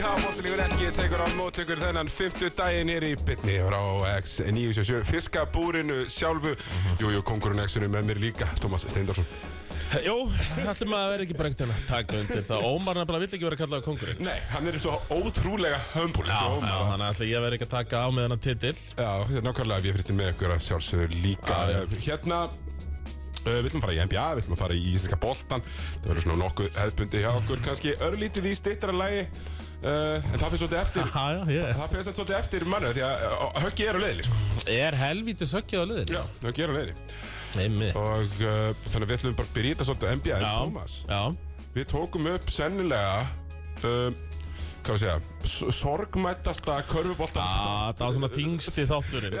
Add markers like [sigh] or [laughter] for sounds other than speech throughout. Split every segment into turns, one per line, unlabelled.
Já, Móttilífur ekki tekur á mótökur þennan 50 daginn hér í bytni frá X977 Fiskabúrinu sjálfu Jújú, jú, kongurinn X-inu með mér líka, Tómas Steindorsson
Jó, ætlum að vera ekki brengt en að taka undir það Ómar nefnilega vill ekki vera kallaða kongurinn
Nei, hann er svo ótrúlega humble
Já,
þessi
já,
Ómar.
þannig ætla ég að vera ekki að taka á með hennar titill
Já, hérna nákvæmlega við frittum með ykkur að sjálfsögur líka
Já, já.
Eh, Hérna uh, við ætlum að fara í NBA, við ætlum að fara í Íslenska boltan Það verður svona nokkuð hefðbundi hjá okkur kannski örlítið í stittra lagi uh, En það finnst svolítið eftir
Já, já, ég
Það finnst svolítið eftir mannu því að eh, höggið er á leiðinni sko
Er helvítið sökkið á liðin?
Já, höggið er á leiðinni
Einmitt
Og uh, þannig að við ætlum bara að byrja þetta svolítið á NBA en
Já,
Thomas,
já
við tókum upp sennilega um, Hvað við segja s- Sorgmættasta körfuboltan
Já, það var svona þingsti þátturinn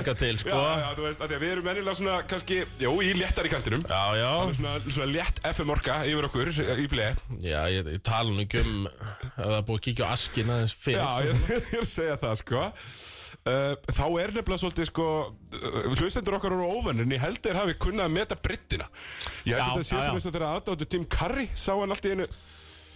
Inga til,
já,
sko
já, þú veist, að því að við erum mennilega svona kannski, jú, í léttari kantinum
Já, já
svona, svona létt FM orka yfir okkur eh, í blei
Já, ég, ég tala nú ekki um Ef það er búið að kíkja á askin aðeins fyrir
Já, ég, [laughs] ég er að segja það, sko uh, Þá er nefnilega svolítið, sko uh, Hlustendur okkar eru óvennir En ég held þeir hafi kunnað að meta brittina Ég held þetta
Já,
að sé
já, já.
sem eins og þegar aðdáttu Tim Curry Sá hann allt í einu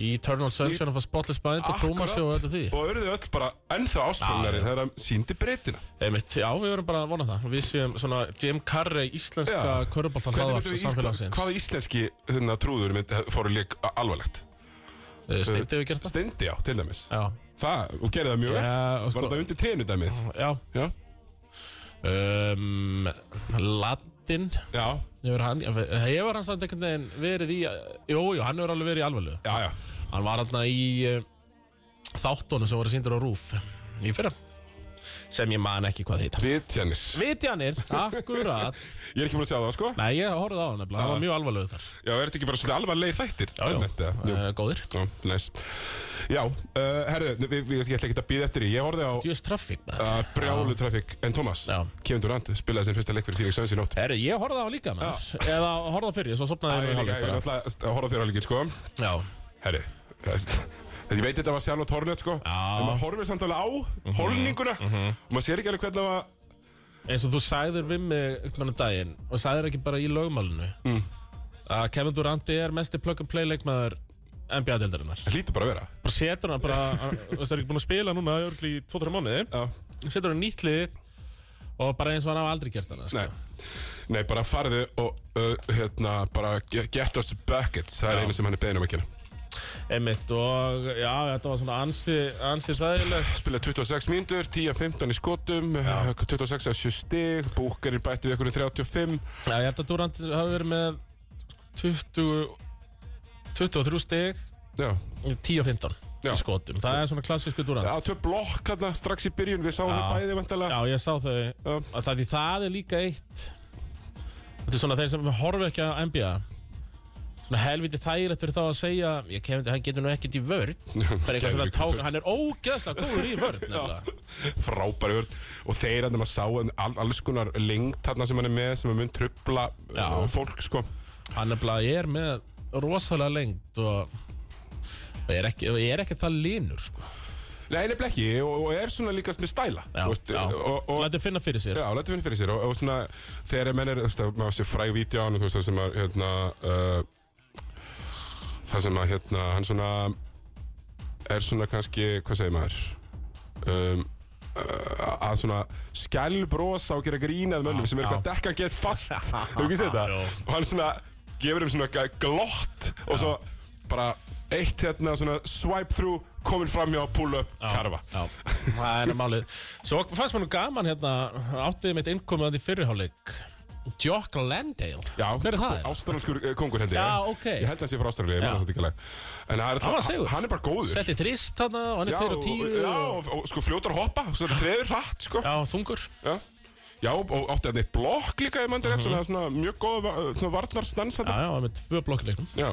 Eternal Sunshine of a Spotless Mind og Thomas og öllu því
og auðvitað öll bara ennþá ástofnari þegar hann síndi breytina
Einmitt, já, við verum bara að vona það Við séum svona Jim Carrey, íslenska
Já.
köruboltan hlaðvarps samfélagsins
hvaða íslenski hérna, trúður mynd, fóru lík alvarlegt
Steindi við Eh, gert það?
steindi á til dæmis
Já,
það, og gerði það mjög vel
Já, og
var
sko-
þetta undir trénu dæmið
já
já,
um, Laddin
já,
Hefur hann, hefur hann samt einhvern veginn verið í Jú, jú, hann hefur alveg verið í alveglu
já, já
Hann var hann í uh, þáttunum sem voru síndir á Rúf Í fyrra Sem ég man ekki hvað þýta
vitjanir
Vitjanir, akkurat
ég er ekki búin að sjá það sko
Nei, ég horfði á hann nefnilega, hann var mjög alvarlegur þar
já, er þetta ekki bara svolítið alvarlegir þættir Almennt, eða?
já,
Jú.
uh, góðir
Já, næs Já, uh, herðu, við, við, ég ætla ekki að býða eftir því Ég horfði á
Djús traffík maður
uh, brjálu trafík En Thomas,
Já.
Kevin Durant spilaði sinn fyrsta leik fyrir Phoenix Suns í nótt
Herru, ég horfði á hann líka maður Eða horfði á fyrir, svo
Ég
sopnaði ég
er
með
líka, ég er
hálfleik bara
náttúrulega st- að horfa á þér alveg, sko
Já,
Herri, [laughs] ég veit þetta var Sjálfot Hornet, sko
Já.
En maður horfir samt alveg á holninguna Og maður sér ekki alveg hvernig það var
eins og þú sæðir við mig einhvern veginn daginn Og sæðir ekki bara í lögmálinu mm. Að Kevin Durant er mesti plug and play leikmaður NBA-deildarinnar
Það hlýtur bara að vera
Bara setur hann bara, hann- þú veist, það er ekki búin að spila núna Örgli í 2-3 mánuði
Já,
Setur hann í nýtt lið Og bara eins og hann hafa aldrei gert hann
nei Nei, bara farðu og uh, hérna, bara ge- get us buckets Það er
Já.
einu sem hann er beðin um að gera
Einmitt og já, þetta var svona ansi, ansi sæðilegt
Spila 26 mínútur, 10-15 í skotum uh, 26 að 7 stig Búkarinn bætti við einhverjum 35
Já, ég held að Durant hafi verið með 20, 23 stig
Já,
10 og 15
Já.
í skotum Það er svona klassísku Durant
að tvö blokk hérna strax í byrjun Við sáum þau bæði vantalega
Já, ég sá þau
Já.
að það, því það er líka eitt Þetta er svona þeir sem horfa ekki að NBA Svona helviti þægilegt fyrir þá að segja Ég kemur, hann getur nú ekkert í
[laughs]
vörn Bara eitthvað svona
Geðveikur
ták,
vörn.
hann er ógeðslega góður í vörn nefnilega.
frábæri vörn og þeir að maður sá en all, alls konar lengt þarna sem hann er með sem að mun trubla
Já.
uh, fólk sko
Hann er bara, ég er með rosalega lengt og og ég er ekki, ég er ekki það linur sko.
Nei, nefnileg ekki og, og er svona líka með stæla
Já,
þú veist,
já.
og, og,
Lætur finna fyrir sér
Já, lættu finna fyrir sér og, og svona þegar menn er, þú veist, að maður sé fræg vídján og þú veist, það sem að, hérna uh, það sem að, hérna, hann svona er svona kannski, hvað segir maður um, uh, að svona skælbrosa og gera grínað mönnum sem er eitthvað að dekka get fast
[laughs]
hefur ekki séð það?
Jú.
og hann svona gefur þeim svona g- glott og svo bara eitt hérna svona swipe through komin fram hjá pull up karfa
Já, það er nú málið Svo fannst mér nú gaman hérna Áttið mitt innkomaðan í fyrriháleik Jock Landale
Já,
Hver er það?
Ástralandskur eh, kongur held ég
Já, ok.
Ég held að hann sé frá Ástralíu, ég
Já.
manna þetta ekki alveg En hann er,
Hann var
það-
sigur.
hann er bara góður
Setti þrist þarna og hann
Já,
er 2 og
og-
10
já,
og-
og, og sko fljótar að hoppa Svo treður hratt, sko Já,
Já, þungur
já og og átti hann eitt blokk líka, ég mann þetta rétt
Mhm.
Svona, svona mjög góð, va- eh, svona varnarstans
Já,
þarna.
já, með tvö blokkleiknum
Já,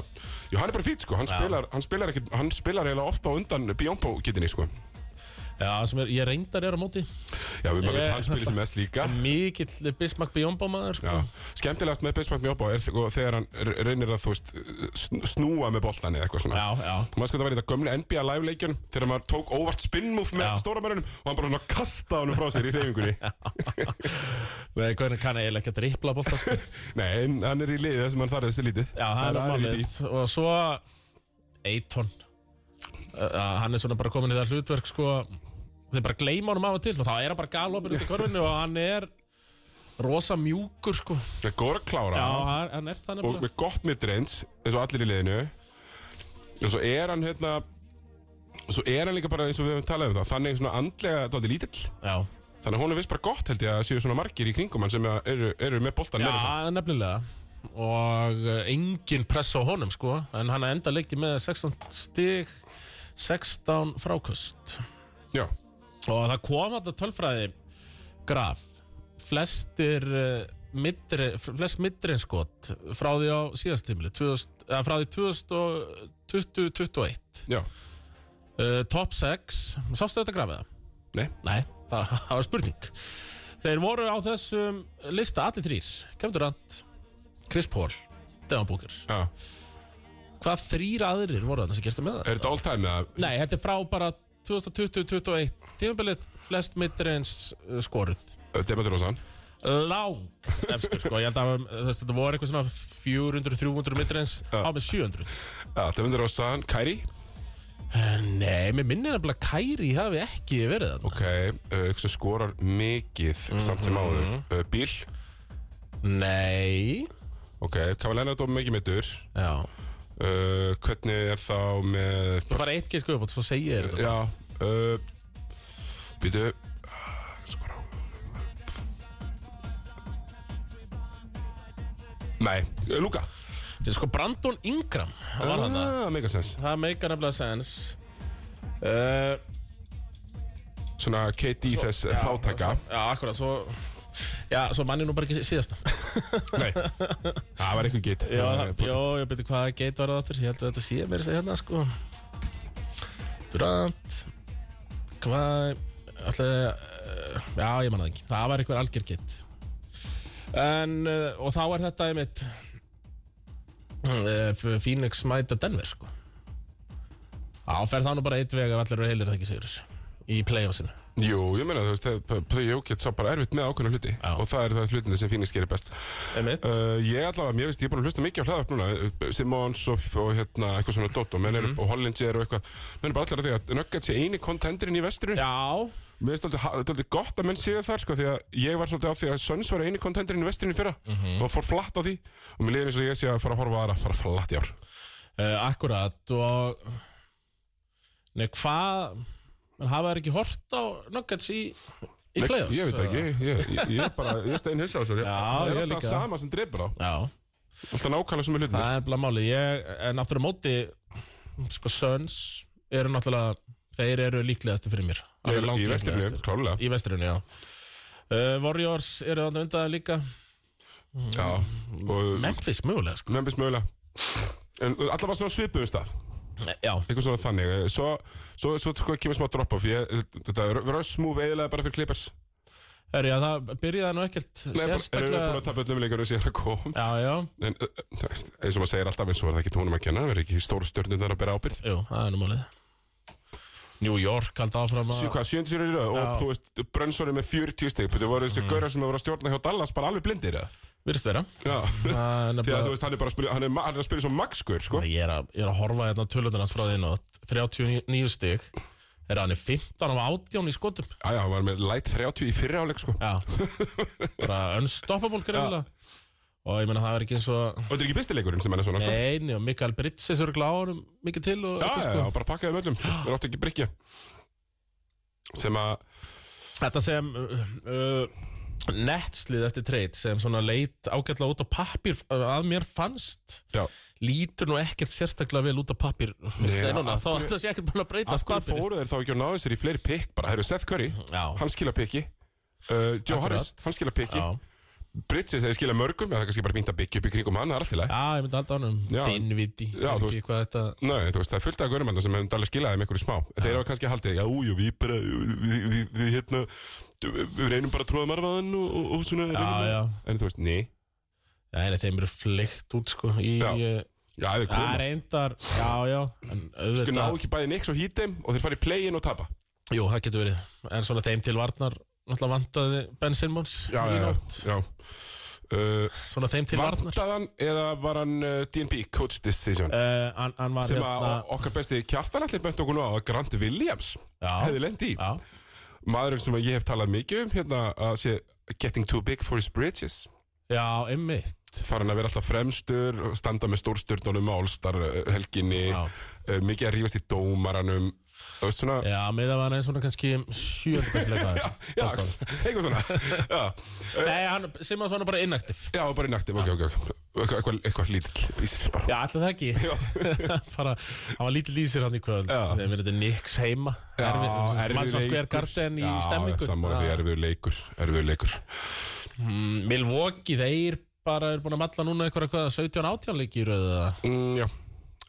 já, hann er bara fýtt, sko Hann spilar, hann spilar ekki, hann spilar eiginlega ofta á undan Bjónpó getinni, sko
Já, sem er, ég reyndar er á móti
Já, við maður
Ég-
veit hann spilir sem mest líka
Mikill Bismarck Bjombo maður sko.
Já, skemmtilegast með Bismarck Mjóbá er sko, þegar hann re- reynir að, þú veist, sn- snúa með boltan eða eitthvað svona
Já, já
maður sko þetta var í þetta gömle NBA live leikjun þegar maður tók óvart spin move með
Já. [laughs]
stóra mörunum og hann bara svona kastaði honum frá sér í reyfingunni
Nei, hvernig kann eiginlega ekki að drippla bólta sko.
Nei, en hann er í liðið sem hann þarðist í lítið
[laughs] Já, það
Það
er
er aðrir í
málið Og svo Eiton uh, Hann er svona bara komin í það hlutverk sko Þeir bara gleyma honum af og til Og þá er hann bara galopin út í korfinu Og hann er Rosa mjúkur sko
Það
Já,
er góður að klára
hann hann er þannig
og
bara
með gott midrange eins og allir í liðinu og svo er hann hérna svo er hann líka bara eins og við höfum talað um það þannig svona andlega dálítið lítill
Já,
þannig að hún er vist bara gott held ég að séu svona margir í kringum hann sem eru, eru með boltan
Já,
meira.
nefnilega og eh, engin press á honum sko en hann enda leikti með 16 stig 16 frákust
Já,
og það kom þetta tölfræði graf flestir eh, midri, flest midrinskot frá því á síðastimli 2000, eða eh, frá því 2021
já,
uh, top 6 sástu þetta grafið það?
nei,
Nei, [laughs] það, það var spurning Þeir voru á þessum lista allir þrýr Kevin Durant, Chris Paul Devon Booker
já
Hvað þrýr aðrir voru þarna sem gerstu með það?
Er þetta all time eða?
Nei, þetta er frá bara 2020-2021 Tímabilið flest midreins skoruð
Demantur Rósan
Lang efstur sko Ég held að um, þú veist, þetta voru eitthvað svona 400-300 midreins
Eh.
á með 700
Já, Demantur Rósan, Kairi
Eh, Nei, mér minnir nefnilega Kairi hafi ekki verið þarna
Ok, auksu skorar mikið samt sem áður uh, Bíl,
Nei
ok, Kavalena dómum mikið mittur
Já
uh, Hvernig er þá með
Þú fara eitt geisk upp og svo segir þetta
Já uh, Býtu Skora Nei, eh, Luka
Þetta er sko Brandon Ingram Hann var hann það
ah, Megasens
Það meikar nefnilega sens uh,
Svona KD þess já, fátaka
Já, akkurat, svo Já, svo manni nú bara ekki síðasta
Nei, það var eitthvað gitt
Já,
Eh,
já ég byrja hvað geit var það aftur Ég held að þetta sé mér að segja hérna, sko Durant Hvað Ætlaði uh, Já, ég manna það ekki Það var einhver algjör geit En, uh, og þá er þetta einmitt uh, Phoenix mæta Denver, sko Já, fer það nú bara eitt veg Ef allir eru heilir er það ekki sigur Í playoffsinu
Jú, ég meina þú veist þegar- Þau ég get sá bara erfitt með ákveðna hluti
Já.
Og það er það hlutin sem Phoenix gerir best
Einmitt
Uh, ég allavega, mér veist, ég er búin að hlusta mikið á hlaðvarp núna eh, Simons og, og hérna, eitthvað svona Dotto, menn
Mhm.
eru, og Hollinger og eitthvað menn eru bara allir að því að Nuggets er eini kontendurinn í vesturinn
Já,
Mér finnst dálítið- dálítið gott að menn séu þar sko, því að ég var svolítið á því að Suns var eini kontendurinn í vestrinu fyrra
Mhm.
og fór flatt á því og mér liður eins og ég sé að fara að horfa á aðra fara flatt í ár
uh, akkurat og Nei, hvað menn hafa þær ekki hort á Nuggets í, í
Nei,
play-offs?
Ég veit það ekki, ég, ég, ég, ég er bara, ég stein hilsa á svo
Já,
Það er
ég
alltaf
líka.
sama sem dreipur á,
Já,
alltaf nákvæmlega sem er hlutin
það er nefnilega málið ég, en aftur á móti sko Suns eru náttúrulega þeir eru líklegasti fyrir mér Alveg
Í
langt
vestrinu,
líklegastir.
klálega
Í vestrinu, já uh, Warriors eru þarna undan líka Mhm.
Já, og
Memphis mögulega sko
Memphis mögulega En allavega svona svipuðum stað
Já,
eitthvað svona þannig Eh, svo, svo, svo sko, kemur smá drop off ég, eh, þetta er rössmúf eiginlega bara fyrir Clippers
er, já það byrjaði nú ekkert
Nei, bara- erum við búin
sérstaklega
að tapa öllum leikur og sér að kom
Já, já,
en uh, uh, þú veist, eins og maður segir alltaf eins og er það ekki tónum að kenna það verður ekki stóru stjörnum þar að bera ábyrð
jú, það er nú málið New York haldi áfram að
Sjö, hvað, sjöndi sér í röð og þú veist, Brönnsson er með 40 stig þetta voru þessi mm. gaurar sem hefur að stjórna hjá Dallas bara alveg blindir eða?
Virðist vera
Já,
Það er
[laughs] því að þú
Hérna, nefnilega
veist, hann er bara að spila hann er, ma- hann er að spila svo magskur, sko
Ég er að, ég er að horfa hérna tölundur hans frá því nótt 39 stig Er hann í 15 af 18 í skotum
Æja, hann var með light 30 í fyrra áleik, sko
Já [laughs] Bara unstoppable greiðilega Og ég meina það er ekki eins og
og þetta er ekki fyrsti leikurinn sem hann er svona, sko
Neini og Mikael Britsis eru gláðunum mikið til og
Já,
eitthvað,
já,
sko.
já, bara pakkaði möllum, sko, þeir áttu ekki brikja sem að
Þetta sem uh, uh, Netslið eftir treyt sem svona leit ágætlega út á pappir að mér fannst
Já,
lítur nú ekkert sérstaklega vel út á pappir
Nei,
steinuna,
af
þá
hverju-
ætti þessi ekkert búin að breyta
af hverju fóru þeir þá ekki að náðu sér í fleiri pikk bara? Það eru Seth Curry,
Já,
hann skila pikki uh, Joe Harris, hann skila pikki
já
Bridges, þeir skila mörgum, eða það er kannski bara fínt að byggja upp í kringum hann, það er allt í lagi
Já, ég myndi alltaf ánum
Já.
Dinvidi
Já, þú
veist Hvað þetta
Nei, þú veist, það er fullt af görum sem hefum dalið skilaði með einhverju smá Þeir hafa kannski haldið, já, jú, við bara við, við, við, við hérna, við reynum bara að tróða marfaðan og, og, og svona reynum
Já,
bara-
já
En þú veist, ný,
Já, en þeim eru flykt út sko í
Já,
eh,
já, þeir
Já,
komast
reyndar Já, já En
Þeir ná
auðvitað
ekki bæði Nix og Heatem og þeir fara í play-in og tapa
Jú, það getur verið En svona þeim til varnar Náttúrulega vantaði Ben Simmons
Já,
í
já,
nótt
já. Uh,
Svona þeim til varnar
Vandað hann eða var hann uh, D&B Coach Decision
uh, hann, hann var
sem að
hérna
okkar besti kjartalalli bent okkur nú á að Grant Williams hefði
Já,
lendi í
já
maðurinn sem ég hef talað mikið um hérna að sé getting too big for his britches
Já, einmitt
farin að vera alltaf fremstur standa með stórstjörnunum á Allstar uh, helginni
Já.
uh, mikið að rífast í dómaranum og svona
Já, með að var hann eins svona kannski sjöndu besti leikmaður
[laughs] já,
Boston.
eitthvað svona já,
Nei, hann, Simmons var nú bara inaktiv
já bara í nakti, ok, ok, ok eitthvað, eitthvað, eitthvað lítill í sér bara
Já, alltaf það ekki [laughs] Bara, hann var lítið lýsir hann í kvöld
Já.
Þegar verið þetta Nix heima Mansson Square Garden í
Já,
stemmingu
sammála því erfiður leikur, erfiður leikur
Mm, Milwaukee, þeir bara eru búin að matla núna eitthvað, eitthvað 17-18 leikir eða,
mm, já,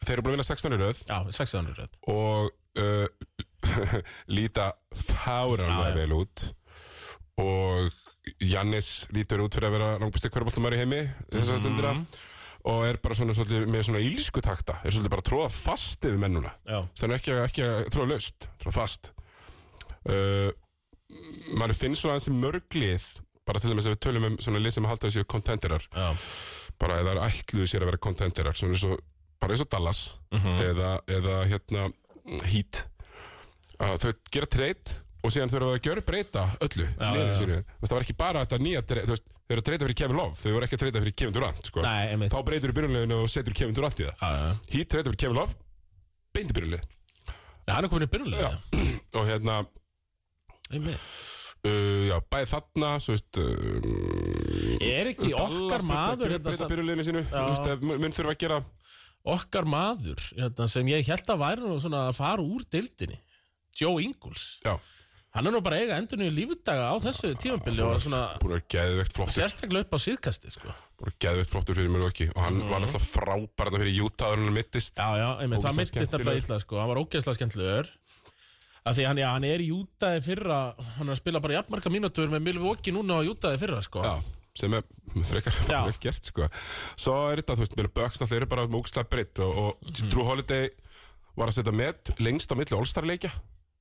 þeir eru búin að vinna 16 í röð
já, 16 er rétt
og uh, [laughs] líta
Já,
fáránlega
já.
vel út og Jannis lítur út fyrir að vera langbæsti hverjabóltumar í heimi þess að
Mhm.
stundina
Mm,
og er bara svona svolítið með svona ílsku takta er svolítið bara að tróða fast yfir mennuna
Já,
þannig ekki, að- ekki að tróða löst tróða fast uh, maður finnst svona aðeins mörglið bara til dæmis að við tölum um svona lið sem halda þessi kontenderar
já,
bara eða er ætluðu sér að vera kontenderar svona eins og, bara eins og Dallas
Mhm. Mm.
eða, eða hérna mm, Heat að þau gera treyt og síðan þau eru að gjöra breyta öllu liðinu
já, já.
sínu. Þú veist, það var ekki bara þetta nýja treyt, þú veist, þau eru að treyta fyrir Kevin Love þau voru ekki að treyta fyrir Kevin Durant sko.
nei, einmitt
þá breytur þú byrjunleginu og setur Kevin Durant í það
Já, já,
Heat treyta fyrir Kevin Love beinti byrjunlegin
Já, hann er komin í byrjulega
Já. og hérna,
einmitt
uh, já, bæði þarna svo veist, um,
Er ekki okkar maður hérna,
breyta
sem-
byrjunleginu sínu Þú veist, það mun- mun þurfa að gera
okkar maður hérna, sem ég held að væri nú svona að fara úr dildinni Joe Ingles
já,
Hann er nú bara að eiga endur nýju lífdaga á þessu tímabili og svona
búin að vera geðvegt flottur
sérstaklega upp á síðkasti sko.
bara geðveitt flottur fyrir Milwaukee og hann var alltaf frábær þarna fyrir Utah þegar hann mittist
Já, já, einmitt, það
Ógeðslega
mistist nefnilega
skemmtilegur.
illa sko. hann var ógeðslega skemmtilegur að því hann, já, hann er í Jútaði fyrra hann er að spila bara jafnmarka mínútur með Milwaukee núna á Jútaði fyrra sko.
Já, sem er frekar
Já.
vel gert sko. svo er þetta, þú veist, mér Bucks alltaf eru bara múkslega breytt og, og
Mhm.
Drew Holiday var að setja met lengst á milli All-Star leikja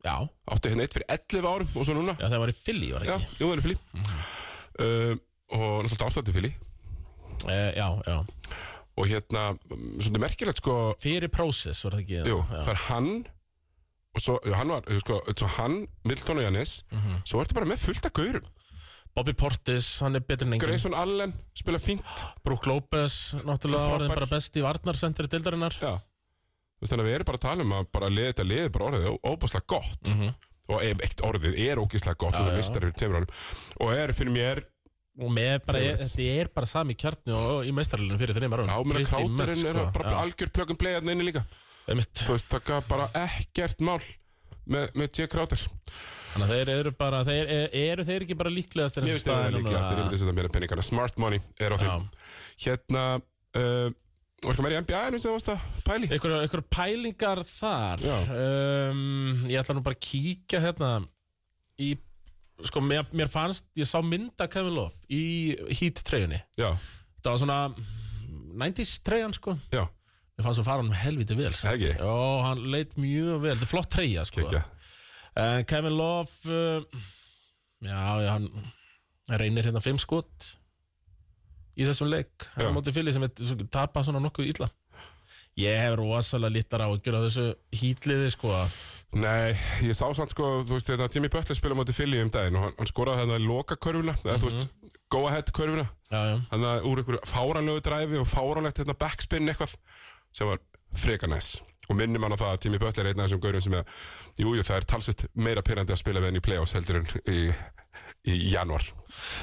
já,
átti hérna eitt fyrir 11 árum og svo núna
já það var í Philly var
já,
ekki Mhm.
nú erum fylg um, og náttúrulega ástætti fylg
já, Eh, já, já.
og hérna, um, svolítið merkilegt sko
fyrir Process var það ekki
Jú,
já.
það er hann og svo, já, hann var, sko, svo hann Milton og Jannis, svo ertu bara með fullt af gaurum,
Mhm. Bobby Portis, hann er betur en engin
Grayson Allen spila fínt
Brook Lopez, náttúrulega
Frábær.
orðin bara best í varnarsendri dildarinnar
Já Þú veist, Þannig að við erum bara að tala um að bara liðið þetta liðið bara orðið ó- óbúslega gott
Mm. Mhm.
og ef eitt orðið er ógíslega gott og það mistar yfir tveimur ánum og er fyrir mér
og með bara,
Favorites.
þetta er bara sami kjartni og, og í meistarlunum fyrir þeirra
ámur að krátarinn er
sko.
að bara algjör plöggum bleiðarni inni líka
einmitt
þú veist það gaf bara ekkert mál með, með J. Krátar
Þannig að þeir eru bara, þeir, e- eru þeir ekki bara líklegast
Mér finnst það líklegast, ég myndi setja mér að peningana Smart money er á þeim Hérna, uh, var ekki meira í NBA-inu sem þú varst að pæli?
Einhverjar einhver pælingar þar
Já.
um, Ég ætla nú bara að kíkja hérna í, sko, mér, mér fannst ég sá mynda Kevin Love í Heat treyjunni
Já,
Það var svona mm, 90s treyjan sko
já,
Mér fannst hún fara hann helviti vel samt.
Ekki?
Jó, hann leit mjög vel, þetta er flott treyja sko
kekja
En Eh, Kevin Love uh, Já, já, hann reynir hérna fimm skot í þessum leik hann
Já.
á móti fyrir sem er- sem tapa svona nokkuð illa Ég hef rosalega lítar á að gera þessu hýtliði sko
Nei, ég sá samt sko, þú veist, þetta Jimmy Butler spila móti Philly um daginn og hann, hann skoraði hérna loka körfuna, eða þú veist, go ahead körfuna,
Já, já,
hann að úr einhverju fáranlegu dræfi og fáranlegt hérna backspin eitthvað sem var freka næs og minnir mann á það að Jimmy Butler er einn af þessum gaurum sem er, jújú, jú, það er talsveit meira pyrrandi að spila við henni í playoffs heldur en í, í januar.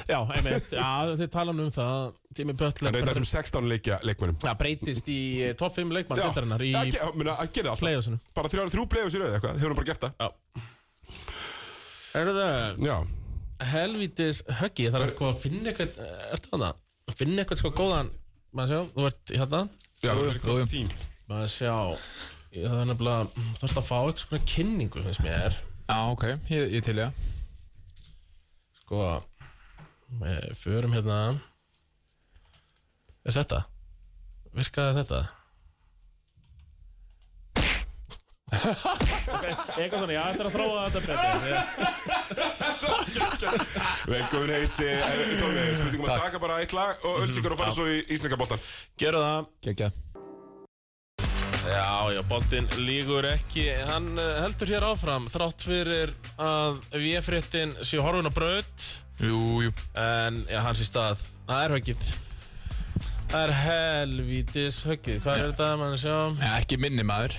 já einmitt Já, þið tala nú um það Jimmy
Hann
Butler
er einn af
bre-
þessum 16 leikja leikmönnum.
Já, breytist í eh, topp 5 leikmann dildarinnar í
ja, ge- já, meina, að gera það alltaf.
playoffsinu
Bara þrjá, þrjú playoffs í rauð eitthvað, hefur hann bara gert það.
Já Er það
Já,
helvítis höggi Ég þarf sko að finna eitthvað Ertu þannig að finna eitthvað sko góðan Maður sjá, þú ert hérna
já, það er góð þín.
maður sjá ég- það er nefnilega, þarfst að fá eitthvað svona kynningu finnst mér,
Já, ok, ég, ég til ég það.
sko við förum hérna er þetta? virkaði þetta? Eitthvað svona, já, þetta er að þróa þetta betur Ég-
Velkomin heisi, eh, Tommi, spurningum að taka bara eitt lag og ölsingar og fara svo í Íslingaboltan.
Gjörðu það
Kekja
Já, já, boltinn lígur ekki Hann eh, heldur hér áfram Þrátt fyrir að VF-réttin séu horfin á braut
Jú, jú
En, já, hans í stað Það er höggið Það er helvítis höggið Hvað er þetta, mann, sjá?
ja, Ekki minni maður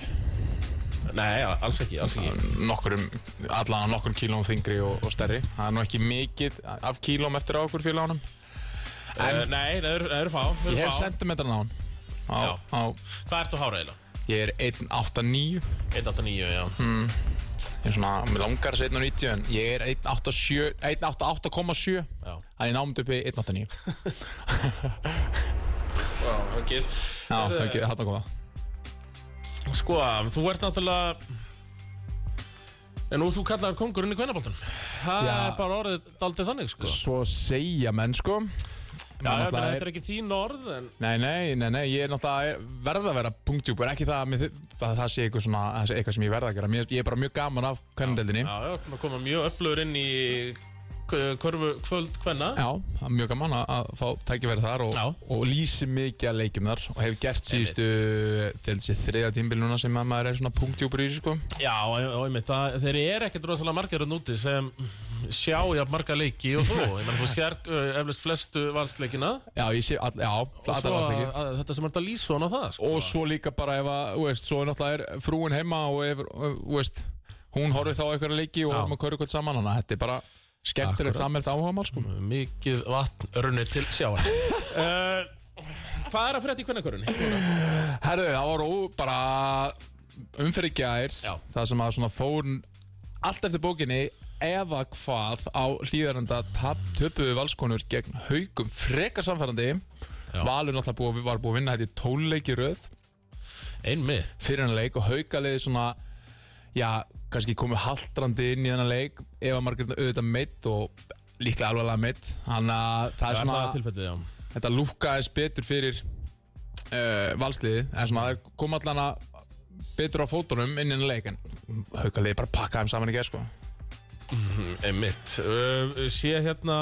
Nei, já, alls ekki, alls ekki
Nokkurum, allan nokkur kílóm þingri og, og stærri Það er nú ekki mikið af kílóm eftir á okkur félagunum
en, Nei, það eru er fá, það eru
Ég hef
fá.
sentimetran á hann á,
Já.
á,
Hvað ertu hára eiginlega?
Ég er 1.89
189, já
Ég er svona, mér langar að segja 1.90 En ég er 1.87 1.88,7
Já,
Þannig ég námd upp í 1.89
já höggið
Já, það er ekki, þetta koma
Sko, þú ert náttúrulega En nú þú kallar kongurinn í kvennaboltan Það
Já.
er bara orðið daldið þannig, sko
Svo segja menn sko
Já,
Menn
já,
náttúrulega
þetta
er-
er ekki þín orð en
Nei, nei, nei, nei, ég er náttúrulega er- verð að vera punktjúpur, ekki það að, mér þi- að það sé eitthvað, svona, það sé eitthvað sem ég verð að gera. Mér, ég er bara mjög gaman af kvennadeldinni. Já,
Já, já, maður koma mjög öflugur inn í k- körfu kvöld kvenna
það er mjög gaman að, að fá tækifæri þar og,
Já.
og lýsi mikið að leikjum þar og hef gert síðustu, til þessi þriða tímbil núna sem að maður er svona punktjúpur í þessu sko.
Já, og og einmitt, það, þeir eru ekkert rosalega margir að núti sem sjá jafn marga leiki og þú Ég menn, þú sér uh, eflust flestu valsleikina
Já, ég sé, all, já,
og svo að,
flatarvast ekki.
að, þetta sem er þetta lýsa hann á það sko.
Og svo líka bara ef að, þú veist, svo náttúrulega er frúin heima og ef, þú veist, hún horfið þá á eitthvað leiki og
Já.
horfum að körðu kvöld saman, þannig að þetta er bara skemmtilegt
Akkurat.
samhelt áhugamál sko.
Mikið vatn runnið til sjáar uh, Hvað er að frétta í kvennakörunni?
Herðu, það var ó, bara umferð í gær
Já.
Það sem að svona fór allt eftir bókinni ef að hvað á hlýðarenda töpuðu valskonur gegn haugum frekar samfærandi Valur náttúrulega búið, var búið að vinna þetta í tónleiki röð
Einmitt
fyrir hennar leik og haugaliði svona já, kannski komið haldrandi inn í hennar leik Eva Margreta auðvitað meitt og líklega alvarlega meitt þannig að það
Það
er
er
svona
það tilfellið, já
þetta lúkkaðist betur fyrir uh, valsliði en svona það kom allan að betur á fótunum inn innan leik en haukaliði bara pakkaði þeim saman í gæð sko
Einmitt uh, Sé hérna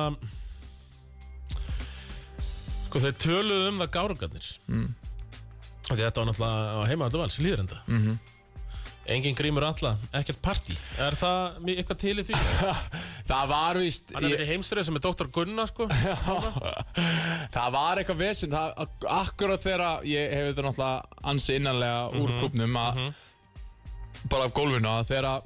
Sko þeir töluðu um það gárungarnir mm. Því þetta var náttúrulega á heima allavega alls líðrenda mm
Mhm.
-hmm. Engin grímur alla, ekkert partí Er það mi- eitthvað til í
[laughs]
því?
það var víst
Hann er
ég,
þetta heimsrið sem er Dr. Gunna
[laughs]
sko
það var eitthvað vesinn akkurat þegar að- ég hef þetta náttúrulega ansi innanlega úr
Mhm,
klubnum að bara af gólfinu að þegar að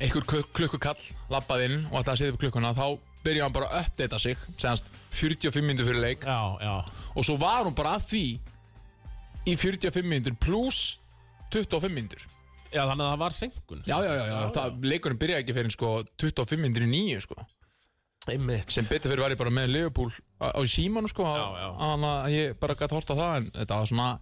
einhver klukk- klukkukall lappað inn og ætlaði að setja upp klukkuna þá byrjaði hann bara að uppdata sig senast 45 minnur fyrir leik
Já, já
og svo var hún bara að því í 45 mínútur pluss 25 mínútur
Já þannig að það var senkun
já, já, já, já, það, leikurinn byrjaði ekki fyrir sko 25 mínútur í nýju sko
Einmitt
sem betur fyrir var ég bara með Liverpool á, á símanu sko
Já, já.
þannig að ég bara gæti horta það en þetta var svona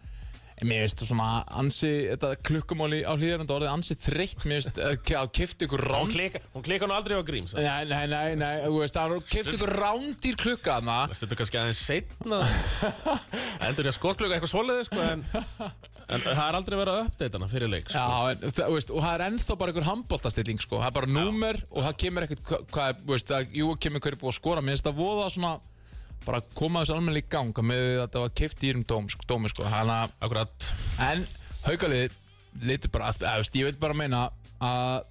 mér veist svona ansi þetta klukkumáli á hlýðarönda orðið ansi þreytt mér veist að kifta ykkur
Hún
ránd
klika, hún klika nú aldrei á gríms
nei, nei, nei, nei, þú veist það kifta ykkur rándýr klukka þarna
Þetta er kannski aðeins seinna
[laughs]
Endur ég að skotklöka eitthvað svoleiði sko en, en það er aldrei verið að uppdata hana fyrir leik sko.
Já, en, það, veist, og það er ennþá bara einhver handbóltastilling sko. það er bara númer og það kemur ekkert hva- hvað er, veist, það, jú, kemur hverju búið að skora mér finnst það voða svona bara koma þessu almennilega í gang með að þetta var keift í um dóm, sko, dómi sko. Hana,
Akkurat
en haukalið litur bara, að, að, veist, ég vil bara meina að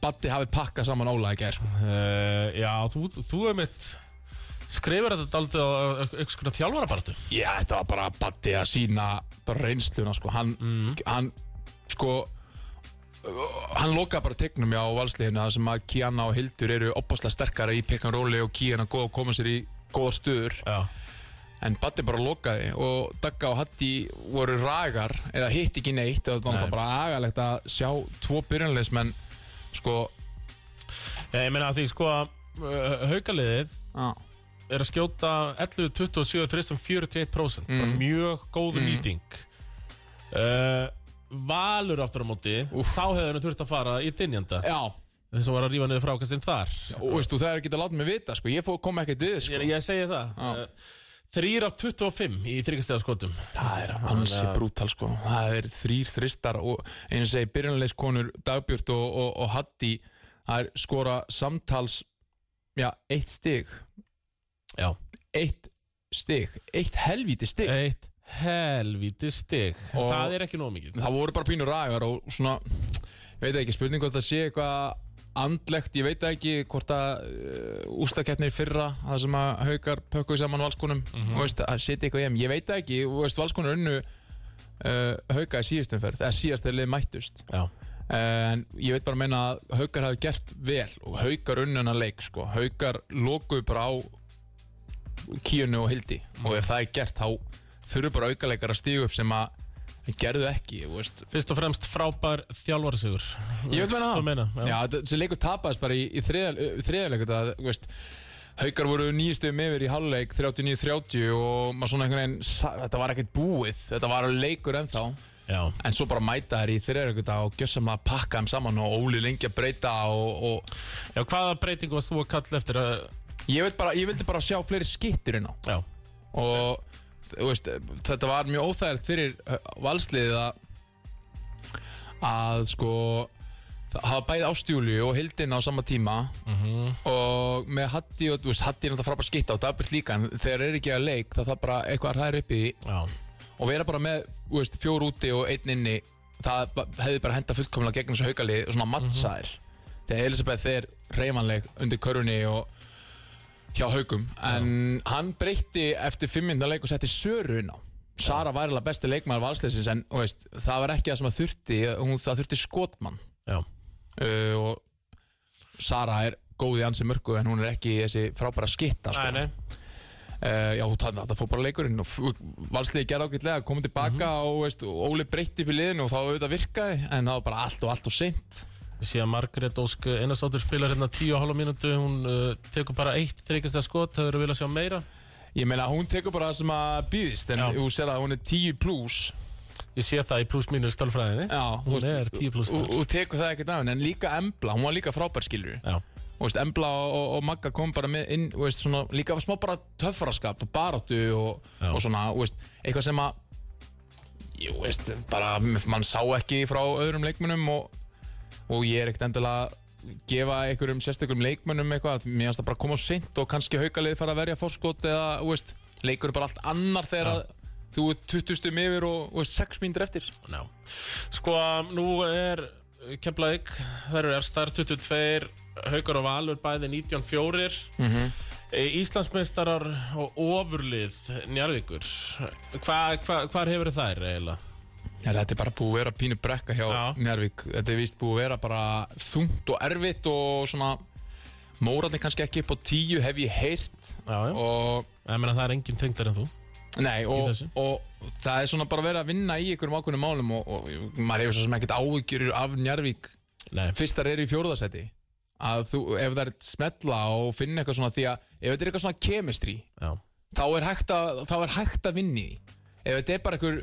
Batti hafi pakkað saman Óla í gær sko.
Uh, já, þú, þú er mitt skrifir þetta daldið á eitthvað svona þjálfarabartu
Já, þetta var bara Batti að sína bara reynsluna sko. hann, hann sko hann lokaði bara tegnum já á valsliðinu það sem að Kiana og Hildur eru opaslega sterkara í pekkan róli og Kiana góð að koma sér í góða stöður
Já,
en Batti bara lokaði og Dagga og Hatti voru ragar eða hitt ekki neitt og það
Nei.
var bara agalegt að sjá tvo byrjanleismenn sko
ég meina að því sko uh, haukaliðið
á,
er að skjóta 11, 27, 3, 41% bara mjög góð nýting uh, Valur aftur á móti þá hefur henni þurft að fara í dynjanda
já
þess að var að rífa niður frákastinn þar
og veist þú það er ekki að láta mig vita sko ég fór að koma ekkert við sko
ég, ég segi það
Já.
uh, Þrýr af 25 í þryggastega skotum
Það er ansi brútal sko Það er þrýr þristar og eins og segi byrjunleiskonur Dagbjörn og, og, og Hatti það er skora samtals já, eitt stig
Já
eitt stig, eitt helvíti stig
Eitt helvíti stig
Og-
Það er ekki nóg mikið
Það voru bara pínur ræðar og svona ég veit ekki, spurning hvort það sé eitthvað andlegt, ég veit ekki hvort að uh, ústakeppnir í fyrra það sem að haukar pökkuð saman valskonum mm -hmm. veist, að setja eitthvað í þeim, ég veit ekki og veist, valskonur unnu uh, hauka í síðustumferð, eða síðast er lið mættust Uh,
Já
en ég veit bara að meina að haukar hafi gert vel og haukar unnuna leik sko. haukar lokuðu bara á kíunu og hildi og ef það er gert þá þurfu bara aukaleikar að stígu upp sem að gerðu ekki þú veist.
Fyrst og fremst frábær þjálfarsigur
ég veit meina
Það
það
meina, já.
já. Já, þetta- þessi leikur tapaðist bara í, í þriðarleikur það þú veist Haukar voru nýjastöðum yfir í halvleik 39-30 og maður svona einhvern veginn sa- þetta var ekkert búið, þetta var leikur ennþá
Já
En svo bara mæta þær í þriðarökkuta og gjössum að pakka þeim saman og Óli lengi að breyta og, og
Já, hvaða breytingu varst þú að kalla eftir að
ég, veit bara, ég vildi bara sjá fleiri skittir inn á
Já,
og þú veist, þetta var mjög óþægilegt fyrir uh, valsliðið að að sko það hafa bæði ástjúli og hildin á sama tíma og með Hatti og, þú veist, Hatti er náttúrulega frábært skitta og Dabilt líka en þegar er ekki að leik þá það bara eitthvað að hræða upp í því
já,
og vera bara með þú veist, fjór úti og einn inni það ba- hefði bara henda fullkomlega gegn þessu haukali og svona mattsær þegar Elisabeth er reymanleg undir körunni og hjá haukum en hann breytti eftir fimmindna leik og setti Söru inn á Sara var alveg besti leikmaður valsleisins en þú veist, það var ekki það sem að þurfti hún, það þurfti skotmann
já
uh, og Sara er góð í ansi mörgu en hún er ekki þessi frábæra skitta sko.
Æ, nei,
Uh, já, þannig að það fór bara leikurinn og f- valsliði gerði ágætlega, komið tilbaka
Mhm.
og veist, Óli breytti upp í liðinu og þá auðvitað virkaði en það var bara allt og allt og seint
Ég sé að Margrét Ósk Einarsdóttir spilar hérna 10 og hálfa mínútu Hún uh, tekur bara eitt þryggasta skot Það eru viljað sjá meira
Ég meina, hún tekur bara það sem að býðist en
Já.
þú sér að hún er 10 pluss
Ég sé það í pluss mínus tölfræðinni
Já, þú
Hún er 10 plús
og, og tekur það ekkert af henni en líka Embla, hún var líka frábær skilur
Já,
veist, Embla og, og, og Magga kom bara með inn, þú veist, svona, líka smá bara töffaraskap og baráttu og,
Já.
og svona, þú veist, eitthvað sem að jú, veist, bara mann sá ekki frá öðrum leikmönnum og, og ég er ekkert endilega að gefa einhverjum sérstökum leikmönnum eitthvað, mér finnst það bara að koma sent og kannski haukalið fara að verja fórskot eða, þú veist, leikur er bara allt annar þegar að þú er 20 stum yfir og, og er 6 mínútur eftir
ná Sko, nú er Keflavík Það eru efstar 22 Haukar og Valur bæði 19-4 mm Íslandsmeistarar og ofurlið Njarvíkur Hva, hva, Hvar hefur þær eiginlega?
Já, þetta er bara búið að vera pínu brekka hjá
Já.
Njárvík Þetta er vist búið að vera bara þungt og erfitt og svona Móraldi kannski ekki upp á tíu hef ég heyrt
Já, já,
og,
ég meina það er engin tengdar en þú
nei, og,
þessu.
og það er svona bara verið að vinna í einhverjum ákveðnum málum og, og maður hefur svo sem ekkert áhyggjur af Njárvík
Nei,
fyrstar er í fjórðasæti að þú, ef það er smetla og finna eitthvað svona því að ef þetta er eitthvað svona kemistri
já
þá er hægt að, þá er hægt að vinni því ef þetta er bara einhver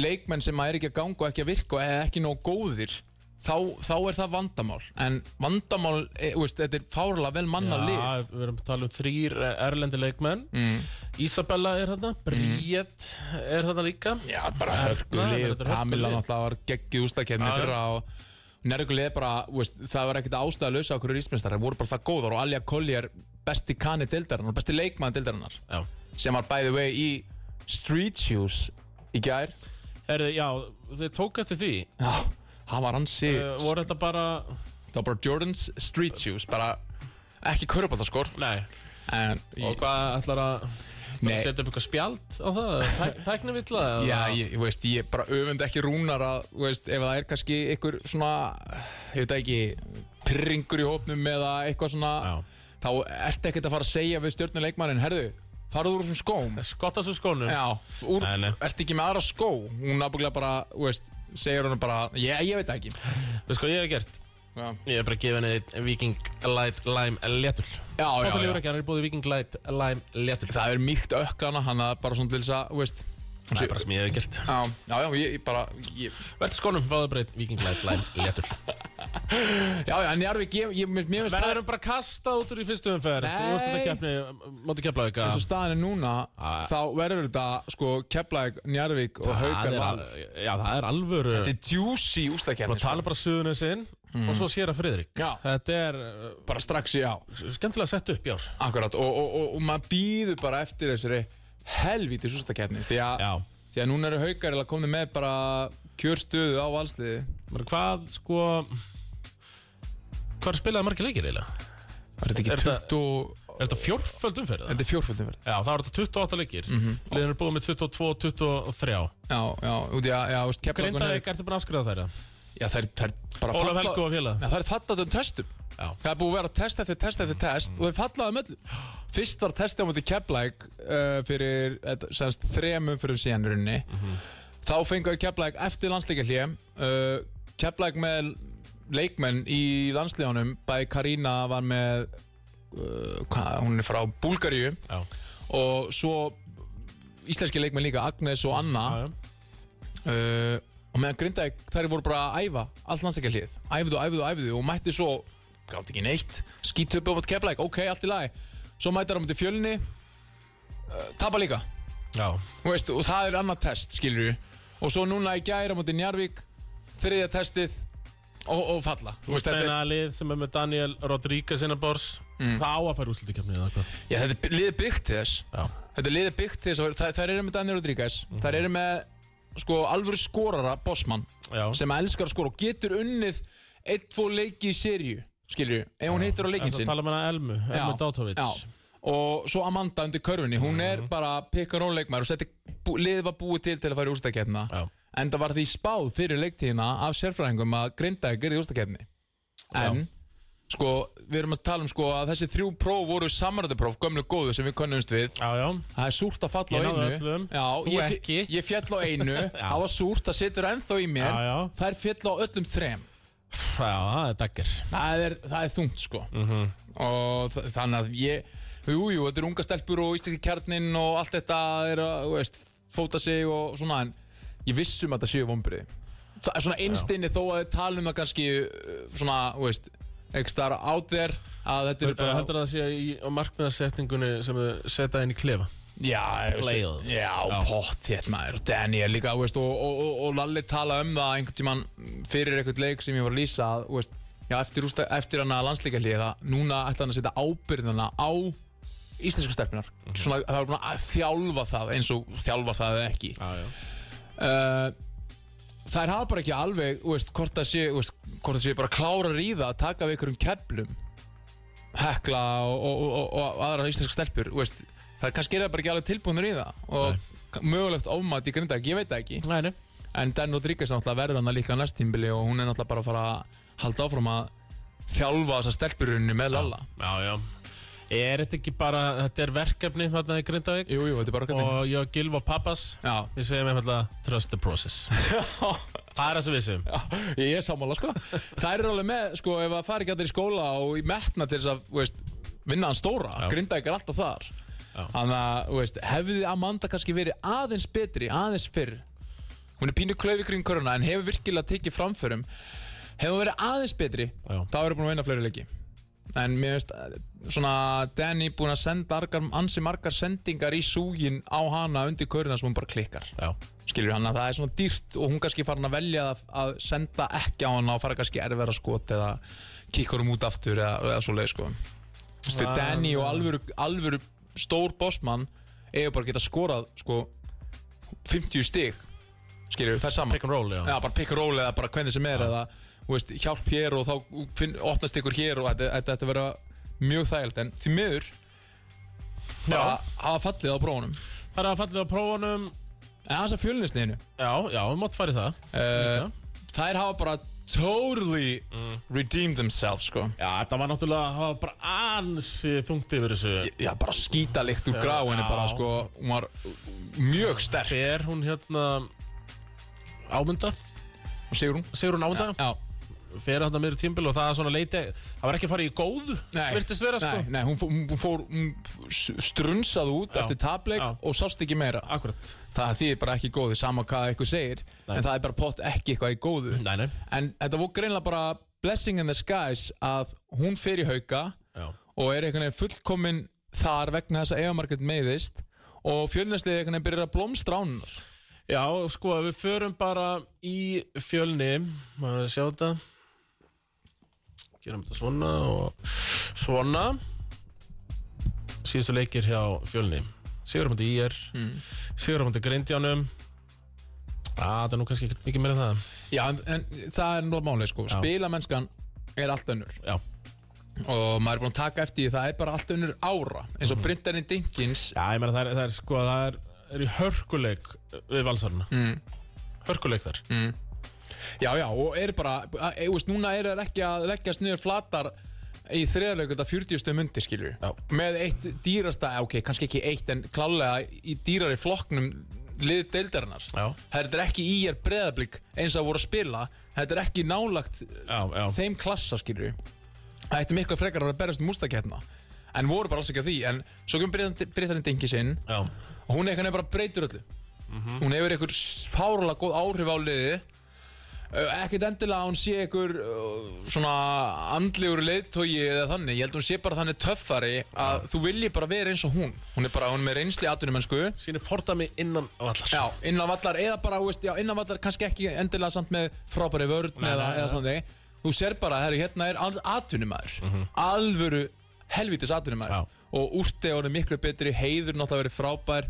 leikmenn sem er ekki að ganga og ekki að virka eða ekki nóg góðir þá, þá er það vandamál en vandamál, e, veist, þetta er fárlega vel manna lið
við erum að tala um þrýr erlendi leikmenn mm. Isabella er þarna, Bríett er þarna líka
Já, bara hörku
Nei,
lið
þetta er hörku
Kamila
lið.
náttúrulega var geggið úslakefni
Já, já.
fyrra og Nergu leið bara, veist, það var ekkert ástæða að lausa okkur rísmestari, voru bara það góðar og Alja Kolli er besti kani deildarinnar, besti leikmann deildarinnar
Já,
sem var by the way í Street Shoes í gær
Herði, já þeir tók eftir því
Já, Eh, hann var hansi
uh, voru þetta bara,
Það var bara Jordans street shoes Bara ekki körubáttaskor
nei
En
og hvað ætlar að ætlar
Nei.
að setja upp eitthvað spjald á það,
[laughs]
Tæk, tæknivilla eða?
Já, ég, ég veist, ég bara öfund ekki rúnar að, þú veist, ef það er kannski einhver svona, ég veit ekki, pyrringur í hópnum eða eitthvað svona,
Já.
þá ertu ekkert að fara að segja við stjórnuleikmannin, herðu, farðu úr þessum skóm,
skottast úr skónum
Já, úr,
Nei, nei.
ertu ekki með aðra skó, hún náttúrulega bara, þú veist, segir hún bara, já, ég veit það ekki.
veist hvað ég hef gert
Já,
ég hef bara gefið henni einn Viking Light Lime Letul
já, já,
Þáttalífur
já.
ekki, hann er búið Viking Light Lime Letul
það er mýkt ökklana, hann að bara svona til þess að, þú veist,
Það er bara sem ég hef gert
Já, já, já, ég, ég bara ég,
Verður skónum, fáðabreit, vikinglæð, læn,
[laughs]
léttul
Já, já, en Njarvík, ég, ég, mér mér finnst það
Verðurum bara kastað út úr í fyrstu umferð Þú ert
Nei.
þetta keppni, móti kepla auka
eins og staðan er núna þá verður þetta sko Keflæk, Njarvík og Haukar Val
Já, það er alvöru
Þetta er juicy sko.
Bara
ústakefni
tala bara suðunum sinn og svo sér að Friðrik
Já.
Þetta er
sko. bara strax í á
uh, skemmtilega sett upp, jár
Akkurat, og, og, og, og maður býður bara eftir þessari helvítis ústakefni því, að-
Já.
því að núna eru Haukar eða komni með bara kjörstöðu á valsliði
Menn, Hvað, sko Hvað spilaði margir leikir eiginlega?
Er þetta
Er
ekki
þetta-
20...
Er þetta fjórföld umferð? eða?
Þetta Mhm. er fjórfjöldin verð
Já, það var þetta 28 leikir mm -hmm. Liðin er búið með 22 og 23
Já, já, út í að, já, veist, Keflavík
Grindavík, ertu búin að afskrifa þær? eða?
Já, það er, það er bara
Ólaf
falla-
Helgu og félaga.
Já, það er fallað um testum
Já.
Það er búið að vera test eftir test eftir test og þau fallaði um öllum Fyrst var testið á móti Keflæk uh, fyrir, eh, semst, þremum fyrir síðan í rauninni
Mhm.
Þá fengu þau Keflæk eftir landsleikahlé uh, Keflæk með leikmenn í landsleikjónum Bæði Karína var með uh, hvað, hún er frá Búlgaríu
Já,
og svo íslenski leikmenn líka Agnes og Anna
já, já.
uh, og meðan Grindavík þær voru bara að æfa allt landsækja hlið æfðu, æfðu, æfðu og mætti svo gátt ekki neitt, skýt upp á móti keflæk ok, allt í lagi, svo mætti þær á móti fjölni uh, tapa líka
já.
Þú veist, og það er annað test, skilur og svo núna í gæra móti Njarvík þriðja testið og, og falla Þú veist, þetta,
Úrstæna lið sem er með Daniel Rodríguez innabors mm. Það á að færa úrslutikefni eða hvað
er, já, þetta er liðið byggt til þess
Já,
Þetta er liðið byggt til þess að þær, þær eru með Daniel Rodríguez þær eru með sko alvöru skorara Bossmann
já,
sem elskar að skora og getur unnið eitt, tvo leiki í sériu skilur, ef hún hittir á leikin
það
sinn
tala með hana Elmu, Elmu Dátovits Mhm.
já. og svo Amanda undir körfunni hún er bara pick and roll leikmæður og þetta er bú- liðið var búið til til að fara í úrstakefna
Já.
en það var því spáð fyrir leiktíðina af sérfræðingum að grinda að gerði úrstakefni en sko, við erum að tala um sko að þessi þrjú próf voru samræðupróf, gömlu góðu sem við könnumst við
Já, já,
Það er súrt að
Ég
falla á
náði
einu
öllum,
Já,
þú
ég,
ekki.
Ég fjall á
[laughs]
einu, það var súrt, það situr ennþá í mér
Já, já.
Það er fjall á öllum þrem
já, það er dagger
Það er, það er þungt sko
Mhm.
Og þa- þannig að ég Jú, jú, þetta er unga stelpur og íslenski kjarnin Og allt þetta er að, þú veist, fóta sig og svona En ég vissum að það séu vombrið Það er svona einstinni þó að þið tala um það kannski uh, Svona, þú veist, ekki star out there Að þetta
Þú
eru bara
heldur að það sé í á markmiðarsetningunni sem þau setja inn í klefa
Já, ég veist,
Playoffs. Já.
já pott hétt maður og Daniel líka þú veist, og, og, og, og Lalli tala um það einhvern tíman fyrir einhvern leik sem ég var að lýsa að, þú veist, já, eftir, ústa, eftir hann að landsleika hlýða núna ætla hann að setja ábyrðina á íslensku stelpunar svona, það var búin að þjálfa það eins og þjálfa það eða ekki
Já, já
uh, þær hafa bara ekki alveg þú veist, hvort það sé, þú veist, hvort það sé bara klárar í það að taka við einhverjum keflum hekla og, og, og, og aðra íslenska stelpur þú veist, þær kannski er það bara ekki alveg tilbúinur í það og Nei. mögulegt ofmat í grindag, ég veit það ekki
Nei, nei
en Dan Rodríguez er náttúrulega verður hann líka næst tímbili og hún er náttúrulega bara að fara að halda áfram að þjálfa þessa stelpurunni með Lalla
Já, já Er þetta ekki bara, þetta er verkefni þarna í Grindavík
Jú, jú, þetta er bara hvernig
og ég og Gilv og Pappas
Já,
Við segjum einfallega trust the [laughs] process Það er það sem við segjum
Ég er sammála sko Það er alveg með sko ef það fari ekki allir í skóla og í metna til þess að þú veist, vinna hann stóra, grinda ekki alltaf þar Þannig að þú veist, hefði Amanda kannski verið aðeins betri, aðeins fyrr Hún er pínu klaufi kring koruna en hefur virkilega tekið framförum Hefði hún verið aðeins betri
Já.
þá er hún búin að vinna fleiri leiki En mér veist, eh, svona Danny búin að senda argar, ansi margar sendingar í súgin á hana undir köruna sem hún bara klikkar
Já,
skilur hann að það er svona dýrt og hún kannski farin að velja að, að senda ekki á hann og fara kannski erfæra skot eða kikkur um út aftur eða, eða svo leið sko Vistu,
Ah,
Danny og alvöru, alvöru stór bossmann eiga bara að geta skorað sko 50 stig skilur það er saman
pick Ah. and roll, já,
Já, bara pick and roll eða bara hvernig sem er eða þú veist, hjálp hér og þá finn, opnast ykkur hér og þetta, þetta, þetta vera mjög þægild en því miður bara hafa fallið á brónum
Það er að fallið á prófunum
en aðeins að fjölinniðinu
Já, já, við mátt fara í það
uh,
Líka.
Þær hafa bara totally
Mm.
redeemed themselves sko.
Já, þetta var náttúrulega, það var bara ansi þungt yfir þessu
Já, bara skítalikt úr gráinu
Já.
bara, sko, hún var mjög sterk
Fer hún hérna Ámynda,
Sigur hún?
Sigrun Ámynda
Já,
fyrir þarna meður tímbil og það er svona leiti það var ekki að fara í góðu
Nei,
virtist vera sko
nei, nei, hún, fó- hún fór hún s- strunsaði út
Já.
eftir tapleik
Já.
og sást ekki meira
Akkurat
það þýðir bara ekki góði sama hvað eitthvað segir
Nei.
en það er bara pott ekki eitthvað í góðu
Nei, nei
en þetta voru greinlega bara blessing in the skies að hún fer í hauka
Já
og er einhvern veginn fullkomin þar vegna þess að Eva Margaret meiðist og fjölnæsliði einhvern veginn byrjar að blómstra hún
Já, sko, við förum bara í fjölni Maður að sjá þetta Gerum þetta svona og svona Síðustu leikir hjá fjölni Sigurumandi IR mm. Sigurumandi Grindjánum Á, það er nú kannski ekkert mikið meira en það
Já, en, en það er náttúrulega máli sko. spilamennskan er allt önnur
Já,
og maður er búin að taka eftir því það er bara allt önnur ára eins og mm. Brindarinn Dinkins
Já ég meina það er, það er sko, það er, er í hörkuleik við valsarna mm. Hörkuleik þar
Já, já, og er bara, e, veist, núna er það ekki að leggjast niður flatar í þriðarlegu þetta 40 stöðum undir, skilur
Já.
Með eitt dýrasta, eh, ok, kannski ekki eitt, en klálega í dýrari flokknum liðið deildarinnar.
Já.
Þetta er ekki í er breðablík eins að voru að spila, þetta er ekki nálagt
Já, já,
þeim klassa, skilur Það ætti miklu frekar að vera að berjast um ústaketna. En voru bara alls ekki að því, en svo kemur Brytarinn Dengis inn
já,
og hún einhvern veginn bara breytir öllu hún hefur einhver fárulega góð áhrif á liði Uh, ekkert endilega að hún sé einhver uh, svona andlegur leiðtogi eða þannig, ég held að hún sé bara þannig töffari að þú vilji bara vera eins og hún hún er bara, hún er með reynsli atvinnumennsku
sínir fordami innan vallar
já, innan vallar eða bara, þú veist, já, innan vallar kannski ekki endilega samt með frábæri vörn eða,
nei,
eða þannig, þú sér bara herri, hérna er al atvinnumæður alvöru
Mhm.
helvitis
Já.
atvinnumæður og úrti orðið miklu betri heiður náttúrulega verið frábær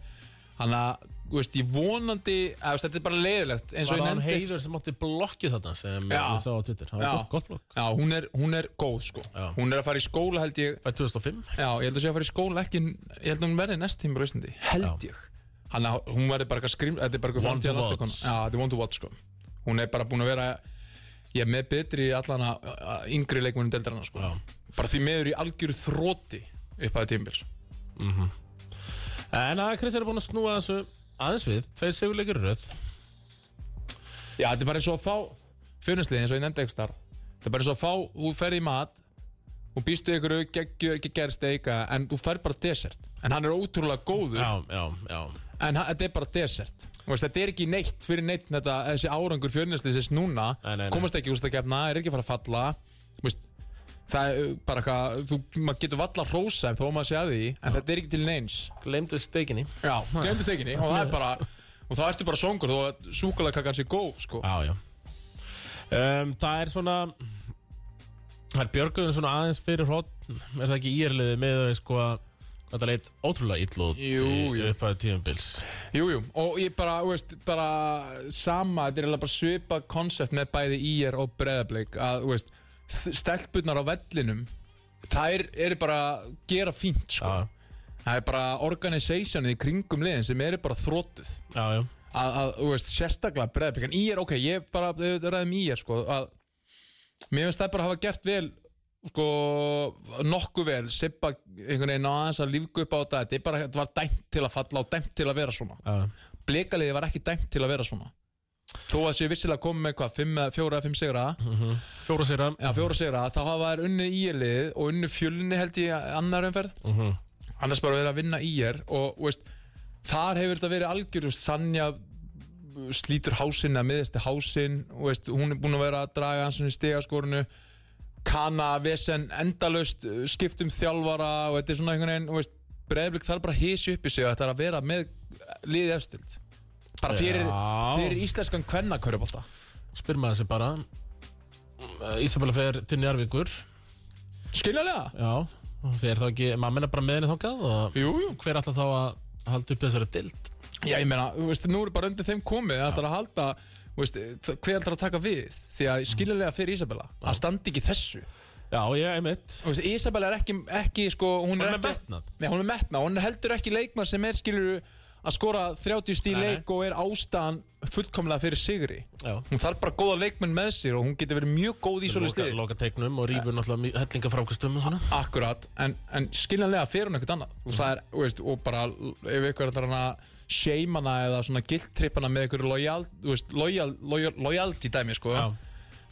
þannig að, þú veist, ég vonandi að, veist, þetta er bara leiðilegt eins og
Var
ég
hann
nefndi
heiður sem átti blokkið þarna sem
Já.
ég sá á Twitter Það var
Já.
gott, gott blokk
Já, hún er, hún er góð sko
Já.
hún er að fara í skóla held ég
Fæði 2005
Já, ég held að sé að fara í skóla ekki Ég held að hún verði næst tíma rauðsindi Held ég Hann að hún verði bara eitthvað skrým Þetta er bara
One to
eitthvað framtíðar næsta
watch.
kona Já, þetta er one to watch sko Hún er bara búin að vera Ég er með betri í allan að að yngri leikmunum deildrana sko
Já.
Bara því meður í algjöru þróti upp að tímbils
En að Chris er búin að snúa þessu aðeins við Tveir sigurleikir í röð
Já, þetta er bara eins og að fá Fjönuslið eins og ég nefndi ekki þar Þetta er bara eins og að fá, þú ferð í mat og býstu ykkur gerst eika en þú fær bara desert en hann er ótrúlega góður
Já, já, já
En ha- þetta er bara desert Þú veist, Þetta er ekki neitt fyrir neitt þetta, Þessi árangur fjörnæsliðsins núna
Nei, nei, nei.
Komast ekki úr þetta kefna, er ekki að fara að falla Þú veist, Það er uh, bara eitthvað þú- Maður getur valla hrósa ef þó maður sé að því En þetta er ekki til neins
Gleymdu steikinni
Já, glemdu stekinni Og það er bara Og það ertu bara songur Þó að súkulega sé góð sko.
Já, já um, Það er svona Það er björguðin svona aðeins fyrir hrótt Er það ekki írliðið með að sko að Hvað það leit ótrúlega illa út
Jú, jú.
Upp að tíðumbils
Jú, jú Og ég bara, þú veist, bara Sama, þetta er eiginlega bara svipa konsept Með bæði ír og breðablik Að, þú veist Stelpurnar á vellinum Þær eru bara að gera fínt sko.
Já,
Það er bara organisationið í kringum liðin sem eru bara þróttuð
já, já
að, að þú veist, sérstaklega breyðablik en ég er, ok, ég bara við ræðum í er sko, að mér finnst það bara hafa gert vel sko, nokkuð vel Sippa einhvern veginn á aðeins að lífgu upp á þetta þetta er bara, þetta var dæmt til að falla og dæmt til að vera svona
já.
blikaliði var ekki dæmt til að vera svona þó að sé vissilega komið með hvað, fimm, eða- fjóra eða fimm sigra
Fjóra sigra
Já, fjóra sigra, þá hafa þær unni ílið og unni fjölni held ég annar umferð
Mhm.
annars bara verið að vinna ír og þú veist, þar hefur þetta verið algjör þú veist, Sanja slítur hásinn að miðjast til hásinn þú veist, hún er búin að vera að draga hans í stegaskorinu Kana, Vesen endalaust, uh, skipt um þjálfara og þetta er svona einhvern veginn þú veist, breyðblik þarf bara að hísi upp í sig og þetta er að vera með liðið efstild bara fyrir,
Já.
fyrir íslenskan kvennakörubólta
Spyr maður sig bara Eh, Ísabella fer til Njarvíkur
skiljalega?
Já hún Fer þá ekki, maður menna bara með henni þangað og
Jú, jú
hver ætla þá að halda upp þessari dild
Já, ég meina, þú veist, nú er bara undir þeim komið Það ætlar að halda, þú veist, þ- hver ætlar að taka við Því að skiljulega fyrir Isabella Að standi ekki þessu Þú
Já, ég einmitt
veist, Isabella er ekki, ekki sko, hún,
Hún
er
er
ekki,
metnað.
Nei, hún er metna Hún er heldur ekki leikmann sem er skiljuru Að skora 30 stíl
Nei, nei.
leik og er ástæðan fullkomlega fyrir sigri
Já
Hún þarf bara góða leikmenn með sér Og hún getur verið mjög góð í
Loka,
svolítið stið
loka teiknum og rýfur náttúrulega mi- hellingafrákastum og svona
Akkurat, en, en skiljanlega fer hún eitthvað annað og það er, þú veist, og bara ef ykkur ætlar hann að shame hana eða svona guilt trip hana með ykkur lojal, þú veist, lojal, lojal, lojaldi dæmi, sko
Já.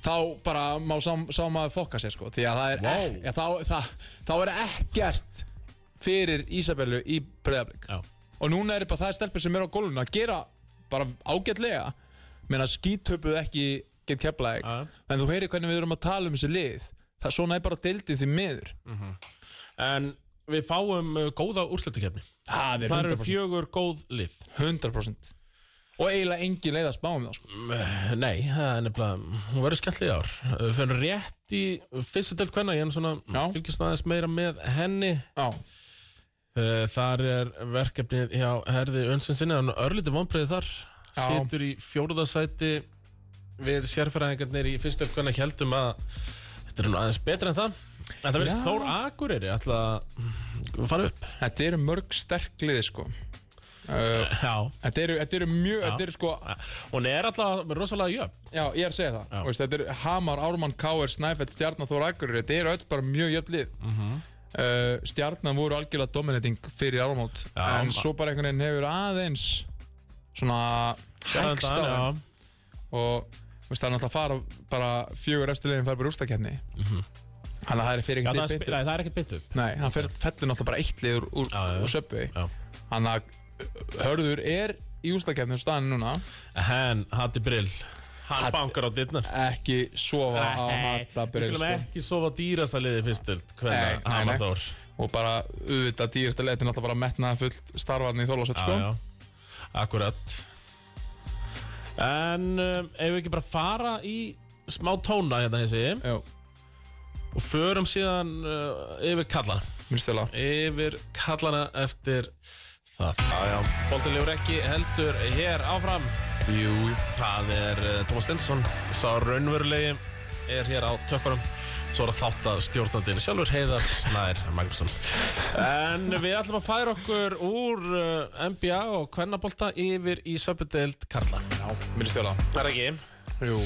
þá bara má sá, sá maður fokka sér sko því að það er,
Vá.
ek, ja, þá, það, þá er ekkert fyrir Ísabellu í breyðablik
Já.
og núna er bara það stelpur sem eru á gólfinu að gera bara ágætlega meina skítöpuð ekki get keflaðið
Já.
en þú heyrir hvernig við erum að tala um þessi lið það svona er bara deildið því miður
En við fáum uh, góða úrslutakefni
það er
Það eru
100%,
fjögur góð lið
100%. og eiginlega engin leið að spá um það sko.
Eh, Nei, það er nefnilega Hún verður skemmtileg í ár Eh, Við fyrir rétt í fyrstu delt hvenna Ég er nú svona
Já.
fylgist maður meira með henni
Já.
Eh, Þar er verkefnið hjá Herði Önsensinni Hann er örlítið vonbreiði þar
Já.
Situr í fjórðasæti Við sérfæraðingarnir í fyrstu delt hvenna Hjaldum að þetta er nú aðeins betra en það En það verðist
Já.
Þór Akureyri ætla að fara upp
þetta eru mörg sterk lið sko. uh,
Já
þetta, eru, þetta eru mjög
Já.
þetta eru sko
Hún er alltaf rosalega jöfn
Já, ég er að segja það
Já.
Þú veist, Þetta er Hamar, Ármann, Káir, Snæfell, Stjarnan, Þór Akureyri Þetta eru öll bara mjög jöfn lið
Mhm.
uh, Stjarnan voru algjörlega dominating fyrir áramót
Já,
En
ma-
svo bara einhvern veginn hefur aðeins Svona hægst á
Hægst
þeim Og þú veist, það er náttúrulega að fara bara fjögur eftir liðin fara bara úrstakefni
Mhm.
Þannig að það er fyrir
Já, það,
ekkert lið
er,
betur
spila, það er ekkert beint upp
Nei, hann fer, fellur náttúrulega bara eitt lið úr, úr,
Já, já, já.
úr söpvi
Já.
Þannig að uh, Hörður er í úrstakefni staðan núna
En Hatti Brill Hann
Hatti-
bankar á dittnar
Ekki sofa á sko.
Við
hatabrið
viljum ekki sofa á dýrasta liði fyrstild
Nei,
Hvernig
nei,
hann
nei.
að þór
og bara auðvitað dýrasta leið til náttúrulega bara að metna fullt starfarni í Þorlásett sko.
Akkurat En um, ef við ekki bara fara í smá tóna hérna þessi
Já,
og förum síðan uh, yfir kallana
minnst þér það
yfir kallana eftir það Jájá, Bóltin Leifur ekki heldur hér áfram Jú Það er eh, Tómas Stensson Sá raunverulegi er hér á tökkarum Svo er að þátt að stjórnandinn sjálfur heiðar Snær Magnússon En við ætlum að færa okkur úr eh, NBA og kvennabólta yfir í söpudeld Karla
Já, minnst þér það
Það er ekki
Jú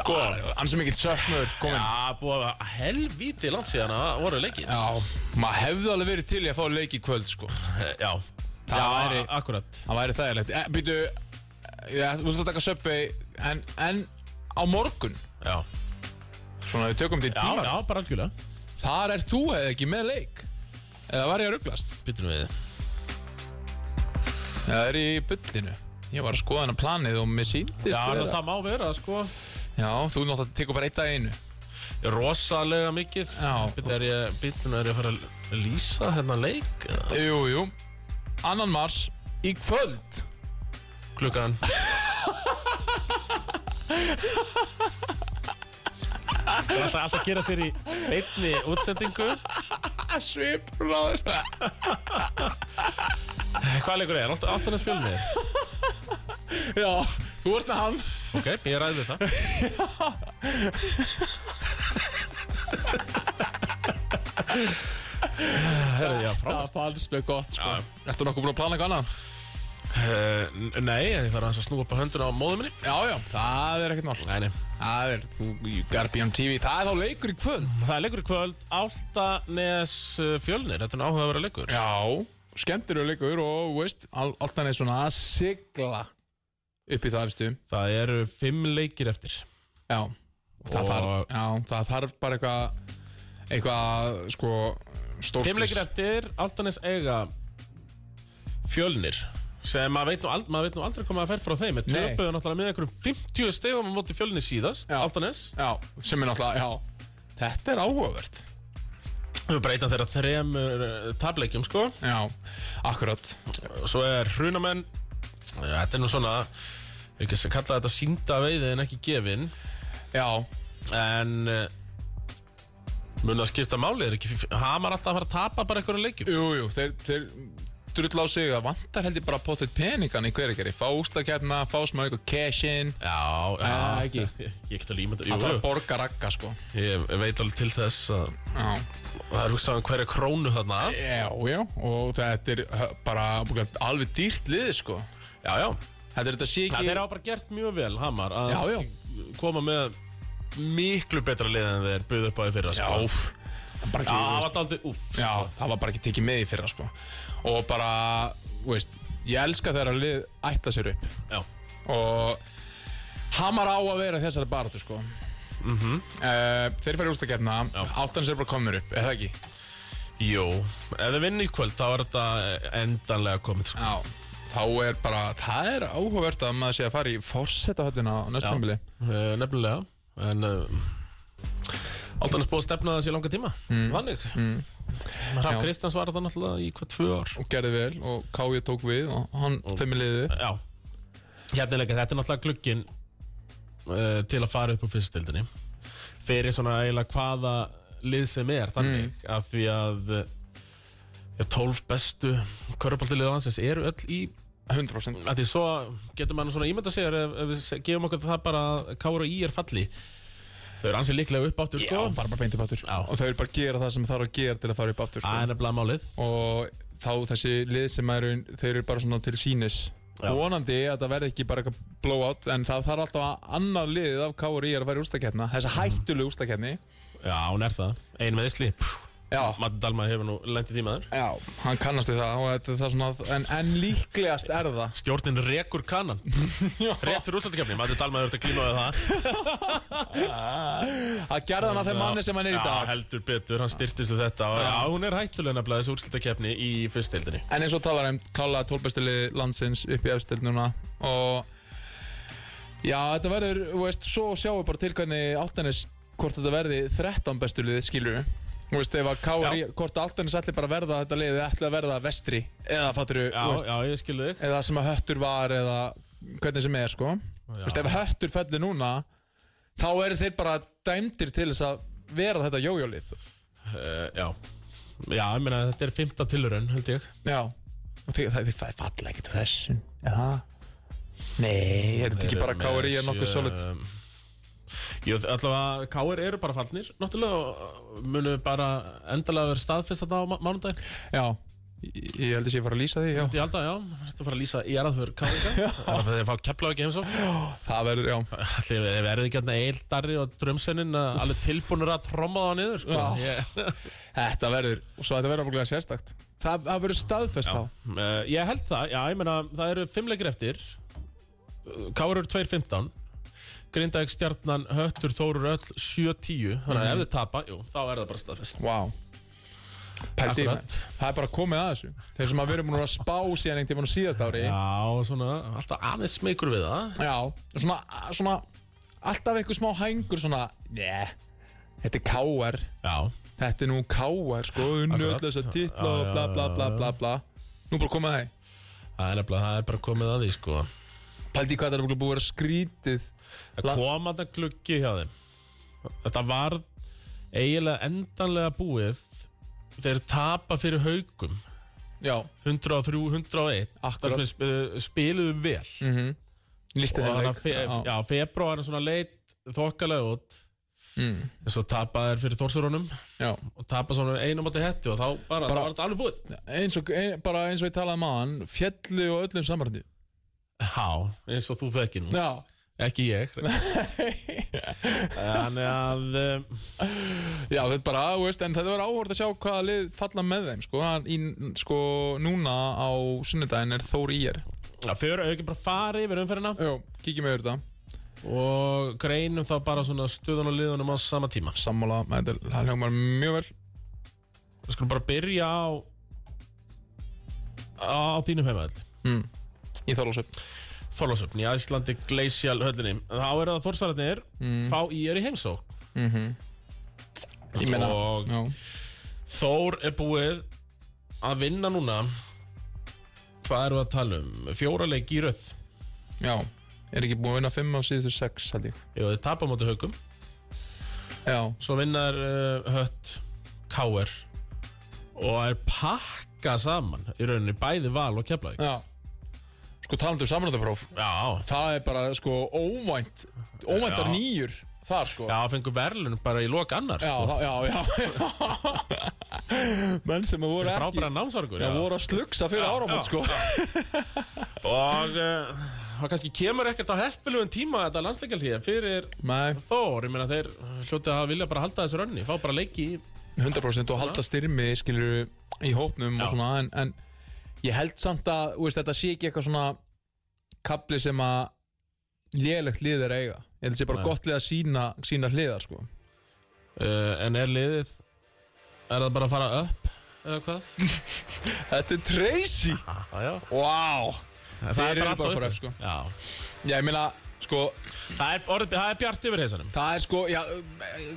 Sko, hann sem ekki söknur komin Já,
Já, búið að helvíti langt síðan að voru leikið
maður hefði alveg verið til í að fá leik í kvöld sko
Eh, Já,
Það væri-
akkurat
Það væri þægilegt e, Býtu, ja, þú vilt að taka söpbi en, en á morgun
Já,
Svona við tökum því
já,
tíma
já bara algjörlega
Þar er þú hefði ekki með leik Eða var ég að rugglast
Byttum við
Það er í bullinu Ég var að skoða hennar planið og mér síndist
Já, það, það má vera, sko
Já, þú náttúrulega tekur bara eitt dag í einu
Rosalega mikið
Já.
Býttu, er ég, býttu, er ég að fara að lýsa hérna leik eða?
Jú, jú Annan mars í kvöld
Klukkan Það er alltaf alltaf að gera sér í einni útsendingu
Svip, bráður
Hvað leikur er? Alltaf, alltaf að spilni
Já, þú ert með hann
Ok, ég ræði við það Herðu, já, frá
Það fannst mér gott, sko
Já.
Ertu nokkuð búin að plana eitthvað annað?
uh, Nei, en ég þarf aðeins að snúa upp á hönduna á móðu minni
Já, já, það er ekkert mál
Nei, nei
Það er, þú, you gotta be on TV Það er þá leikur í kvöld
Það er leikur í kvöld, Áltanes uh, fjölnir, þetta er áhuga að vera leikur
Já, skemmtir eru leikur og, þú veist, all, allt hann er svona að sigla upp í það, veistu
Það eru fimm leikir eftir
Já, og það,
Og-
Þarf, já, það þarf bara eitthvað eitthvað, sko, stórskis
Fimm leikir eftir, Áltanes eiga fjölnir sem maður veit nú, ald maður veit nú aldrei hvað maður fer frá þeim Við
Nei.
töpuðu náttúrulega með einhverjum 50 stegum á móti fjölnir síðast,
Já.
Áltanes
Já, sem er náttúrulega, já Þetta er áhugavert
Við breyta þeirra þremur uh, tableikjum sko
Já, akkurat
Svo er hrunamenn ja, Þetta er nú svona Ég kannski kalla þetta sínda veiði en ekki gefin
Já,
En uh, mun það skipta máli er ekki, Hamar alltaf að fara að tapa bara einhverjum leikjum
jú, jú, þeir, þeir drull á sig að vantar held ég bara að potið peningan í hverjargeri, fá úslakefna fá smá eitthvað cash-in
Já, já
Eh, ekki.
[laughs] Ég get að líma
það þarf að
þetta
borga ragga sko
Ég veit alveg til þess að
Já,
Það er hugsað um hverja krónu þarna
já, já og þetta er hö, bara alveg dýrt lið sko
Já, já
Þetta er þetta sé
Það
ekki
er á bara gert mjög vel, Hamar að
Já, já.
koma með miklu betra lið en þeir buðu upp á því fyrra
Já,
sko.
úff, það er bara
Já, það
ekki, þú
var
veist,
þetta aldrei úff
já, það var bara ekki tekið með í fyrra sko og bara, þú veist, ég elska þegar að lið ætla sér upp
já.
og Hamar á að vera í þessari baratu sko uh, Þeir fara í úrstakefna Áttan sér bara komnir upp, eða ekki
Jú, ef þið vinna í kvöld þá er þetta endanlega komið sko.
Já Þá er bara, það er áhugavert að maður sé að fara í Forsetahöllina á
Já.
næstum bíli
Eh, Nefnilega En uh, Alltaf hans búið að stefna þessi í langa tíma Þannig mm. Hrafn
Já.
Kristjáns var þetta náttúrulega í hvað tvö ár
Og gerði vel og Kája tók við og hann fimmir liðið
Já Hérna er leika, þetta er náttúrulega glukkin uh, Til að fara upp úr fyrstildinni Fyrir svona eiginlega hvaða lið sem er Þannig Af því að eh, Já, 12 bestu Köruboltilið landsins eru öll í
100%
Því svo getur mann svona ímynda sér ef, ef við se- gefum okkur það bara að Kára í er falli Þau eru ansið líklega upp áttur sko
Já, fara bara beint upp aftur
Já.
Og þau eru bara að gera það sem þarf að gera til að fara upp aftur sko.
Það er nefnilega málið
Og þá þessi lið sem eru, þeir eru bara svona til sínis
Já.
Vonandi að það verði ekki bara eitthvað blowout En það þarf alltaf að annað liðið af Kári að fara í úrstakefna Þessa hættulegu úrstakefni
Já, hún er það Ein með Ísli
Já,
Matti Dalma hefur nú lent í tímaður
Já, hann kannast við það og þetta er það svona En, en líklegast er það
Stjórnin rekur
[laughs]
kanan Rétt fyrir útlættikefni Matti Dalma hefur þetta klímaðið það
Að gerða hann að þeim manni sem hann er í
Já,
dag
heldur betur Hann styrtist við þetta og, Já, hún er hættulega nefnilega þessi úrslættakefni í fyrstildinni
En eins og talar um klálega tólbestili landsins upp í efstild núna Og Já, þetta verður, þú veist, svo sjáum við bara til hvernig Altanis Hvort þetta verði 13 bestu liðið, skilur við Þú veist, ef að KRI, hvort Altanis ætli bara að verða þetta liðið ætli að verða vestri Eða fattur
Já,
þú veist
já, ég skilu þig
Eða sem að höttur var eða hvernig sem er, sko Þú veist, ef höttur fellur núna þá eru þeir bara dæmdir til þess að vera þetta jójólið
Eh, Já Já, ég meina þetta er fymta tilurinn, held ég
Já og því, það, það er falla ekkert þessu Já Nei, er þetta ekki bara KRI er nokkuð solid
Jú, allavega, KR eru bara fallnir Náttúrulega og munu bara endalega vera staðfist þetta á má- mánudaginn
Já, ég, ég held að ég fara að lýsa því já.
Ég held að, já, þetta fara að lýsa í aðrað fyrir KR í [laughs] dag. Það er að þeir fá kepla ekki heimsó
Það verður, já
Allir, ef við erum ekki hérna eildarri og drömsennin alveg tilbúinur að tromma það niður sko.
Já.
ég,
Þetta verður, og svo þetta verður ábúinlega sérstakt Það, það verður staðfest þá
uh, ég held það, já, ég meina það eru fimmleikir eftir Káur eru 2.15 Grindavík stjarnan, Höttur, Þórur öll 7.10, þannig að ef þið tapa jú, þá er það bara staðfest
Vá Pældi, í-
Akkurat.
það er bara komið að þessu Þeir sem að við erum búin að spá síðan einhvern tímann á síðast ári
Já, svona, alltaf aðeins smekur við það
Já, svona, svona alltaf eitthvað smá hængur svona Nei, þetta er káar
Já,
Þetta er nú káar, sko unnu öll
Akkurat.
þess að titla og bla bla bla bla bla Nú bara komið það
það er nefnilega, það er bara komið að því sko
Pældi í hvað það er örugglega búið að vera skrítið
Það kom að það gluggi hjá þeim Þetta varð eiginlega endanlega búið þeir tapa fyrir haugum
Já,
103, 101
Akkurat.
Það sem við spiluðu vel
lísti
og þannig
þeim mhm. leik
að fe
Já.
já, februar er svona leit þokkalega út
Mm.
en svo tapa þeir fyrir Þórsurunum
Já.
og tapa svona einum átti hetti og þá bara,
Bara-
bara var þetta alveg búið
Eins og, ein, bara eins og ég talaði um maðan fjallu og öllum samarandi
Já, eins og þú þekki nú
Já, [laughs]
Ekki ég Þannig að um,
já þetta er bara, þú veist, en þetta verður áhort að sjá hvaða lið falla með þeim, sko Hann í, sko, núna á sunnudaginn er Þór Ír
að fyrir auki bara fara yfir umferðina
Jó, kíkjum yfir þetta
og greinum þá bara svona stuðan og liðunum á sama tíma
sammála, þetta er- það hljómar mjög vel
Við skulum bara byrja á á þínum heimaðall
í Þorlósöp
Þorlásöfn í Æslandi Glacial höllinni þá er það Þorsararnir
Mm.
fá í er í heimsók
Mhm. Ég meina,
og
já,
Þór er búið að vinna núna hvað erum við að tala um fjóra leik í röð
já, er ekki búin að vinna 5 á síðustu 6 held ég
Jú, þið tapa á móti haugum
já,
svo vinnar uh, hött K.R. og er pakka saman í rauninni bæði val og keflaði
já sko talandu um samanlöndapróf
Já,
það er bara sko óvænt óvæntar
Já.
nýjur þar sko
Já, fengur verðlun bara í lok annar
já,
sko.
það- já, já, [laughs] menn sem að voru ekki
Frábæra námsorgur
já, voru að slugsa fyrir áramót
já,
sko
Og uh, það kannski kemur ekkert á hestbylugum tíma þetta landsleikaltíða fyrir
nei,
Þór, ég meina þeir hljótið að vilja bara halda þessu rönni, fá bara leiki í
100% og halda styrmi skilur í hópnum
Já.
og svona en, en ég held samt að þú veist, þetta sé ekki eitthvað svona kapli sem að lélegt lið er að eiga Ég held að sé bara
Nei.
gott lið að sína, sína hliðar sko.
uh, En er liðið Er það bara að fara upp Eða hvað?
Þetta er Tracy
Ah, já.
wow.
Það
Þeir eru
alltaf
bara að fara
uppi.
upp sko.
Já.
Já, ég meina, sko,
Það er, orðið, það er bjart yfir heisanum
það er sko já,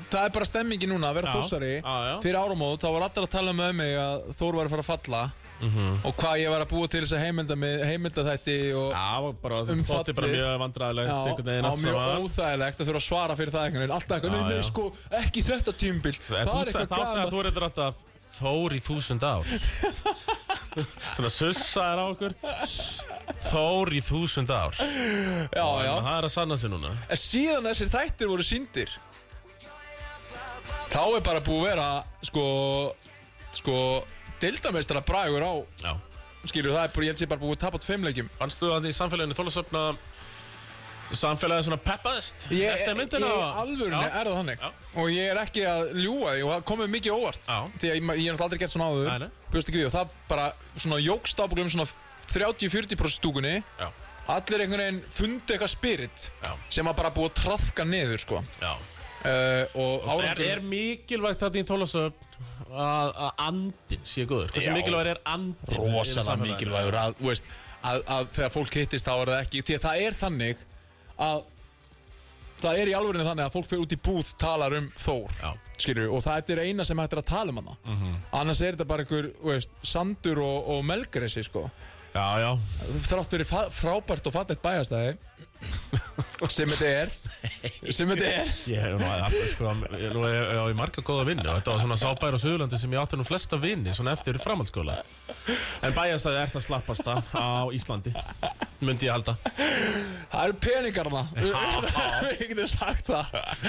Það er bara stemmingi núna að vera
Já.
þossari
Já, já.
Fyrir áramót, þá var allir að tala með mig að Þór var að fara að falla
Mhm.
Og hvað ég var að búa til þess að heimilda, mig- heimilda þætti og,
Já, bara,
Um
um þótti bara
fallið.
mjög vandræðilegt
Já,
einhvern veginn
á
allt
mjög
saman.
óþægilegt að þurfa að svara fyrir það einhvern veginn Alltaf eitthvað,
Já,
nei, nei,
já.
sko, ekki þetta tímbil
En
Það
þú
er
sagði, þá
eitthvað
segja
gaman
þú reyndar alltaf Þór í þúsund
[laughs]
ár Svona sussaðir á okkur Þór í þúsund ár já.
Já, já,
Það er að sanna sig núna
en síðan þessir þættir voru síndir Þá er bara búið að vera, sko, sko, deildameistara bragur á
já.
Skilur, það er bara, ég held sér bara búið að tapa tveimleikjum
Fannstu það í samfélaginu þólasöfna Samfélagið svona peppaðist
Ég,
Eftir myndina
Í alvörunni
Já.
er það þannig
Já.
Og ég er ekki að ljúga því og það komið mikið óvart
Já.
Því að ég, ég er náttúrulega aldrei gett svona
Nei,
áður
nei.
Bjóst ekki við og það bara svona jógst ábúrlum svona 30-40% stúkunni
Já,
Allir einhvern veginn fundu eitthvað spirit
Já.
Sem að bara búið að trafka niður sko
já
uh, Og
Það er
árangur
mikilvægt þetta í þólasöfn að, að andin sé góður Hversu
Já.
mikilvægt er andin í
rosalega
samfélaginu?
mikilvægur að, þú veist, að, að þegar fólk hittist þá er það ekki Því að það er þannig að Það er í alvörinu þannig að fólk fyrir út í búð talar um Þór
Já.
skilur, og það er eina sem hægt er að tala um hana
Mhm.
annars er þetta bara einhver þú veist, sandur og, og melgressi sko.
Já, já
þrátt verið frábært og fallegt bæjastæði sem þetta er sem þetta er
Ég hef nú að, sko, ég- nú hef- ég á í marga góða vinni og þetta var svona sábæra á Suðurlandi sem ég átti nú flesta vinni svona eftir framhaldsskóla En bæjastæði ert að slappast að á Íslandi myndi ég halda
það eru peningarna [laughs] við getum sagt það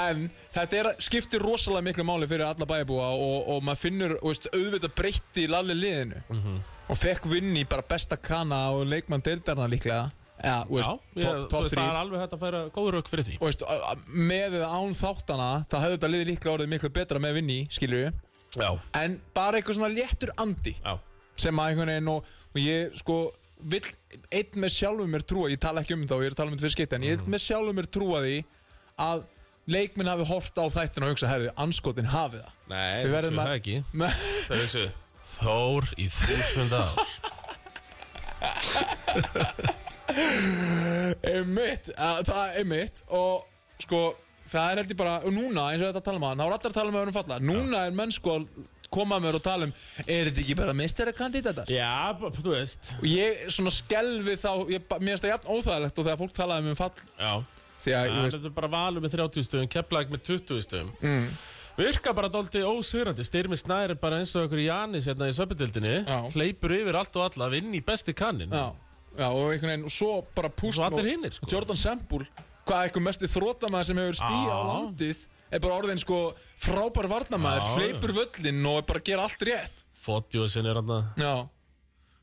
en þetta er, skiptir rosalega miklu máli fyrir alla bæjabúa og, og maður finnur þú veist, auðvitað breytti lalli liðinu
Mhm.
og fekk vinn í bara besta kana og leikmann deildarna líklega Já, þú veist,
Já, ég,
top-
þú
top
veist
3
það er alveg hægt að færa góð rauk fyrir því
og veist, að- að- með eða án þáttana það hefði þetta liðið líklega orðið miklu betra með vinni skilur við,
Já,
en bara eitthvað svona léttur andi
já,
sem að einhvern veginn og, og ég sko vill einn með sjálfum mér trúa ég tala ekki um það og ég er að tala um þetta fyrir skeitt en ég vil með sjálfum mér trúa því að leikminn hafi hort á þættin og hugsa herði, anskotin hafi það [laughs]
nei,
Við
við verðum
verðum að-
það ekki
Men-
Það er þessu Þór í þúsund ár
einmitt, að, það er einmitt og sko það er held ég bara, og núna eins og þetta tala maður þá er allar að tala með öðrum falla, núna er menn sko að koma með og tala um, er þetta ekki bara misterakandidatar?
Já, b- þú veist
og ég svona skelvi þá ég, ba- mér finnst það jafn óþægilegt og þegar fólk talaði um fall
Já,
því að ég
það
veist
er bara valur með 30 stöðum, keplæk með 20 stöðum mm. Virka bara dálítið ósýrandi Styrmi Snær er bara eins og okkur Janis hérna í söpindildinni
Já.
Hleypur yfir allt og alla, vinn í besti kannin
já, já, og einhvern veginn og svo bara púst
Svo allir hinir, sko.
Jordan Sembúl hvað er eitthvað mesti þrótamaður sem hefur stíð á
Já.
landið er bara orðin sko frábær varnamaður
Já,
hleypur völlinn og er bara að gera allt rétt
Fotjósin er hann
já,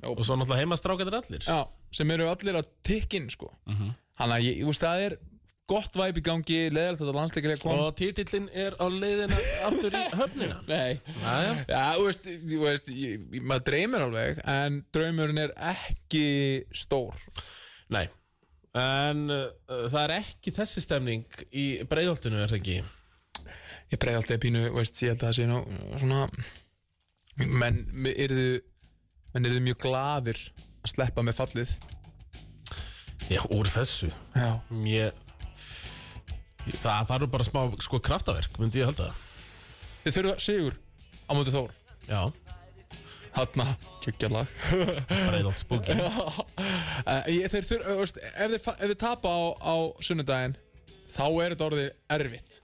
Og svo náttúrulega heimastrákandir allir
já sem eru allir að tikkin sko mm
Mhm.
-hmm. hann að ég, ég veist það er gott væp í gangi leðalt þetta landsleikir er kom
Og titillin er á leiðina aftur í höfnina
nei
Jæja,
Já, þú veist, þú veist ég, ég- maður dreymir alveg en draumurinn er ekki stór
nei En uh, það er ekki þessi stemning í breiðoltinu, er það ekki?
Ég breyði alltaf pínu, þú veist, ég held að það sé nú svona menn eru menn eru mjög gladir að sleppa með fallið
Já, úr þessu
Já,
Ég... Það þarf bara smá sko kraftaverk, myndi ég halda
þið þurfa sigur á móti Þór
Já,
Hanna, kjökkjalag [laughs]
breiðolt spúki
Eh, Þeir þurfa, þú veist, ef þið, fa- ef þið tapa á, á sunnudaginn þá er þetta orðið erfitt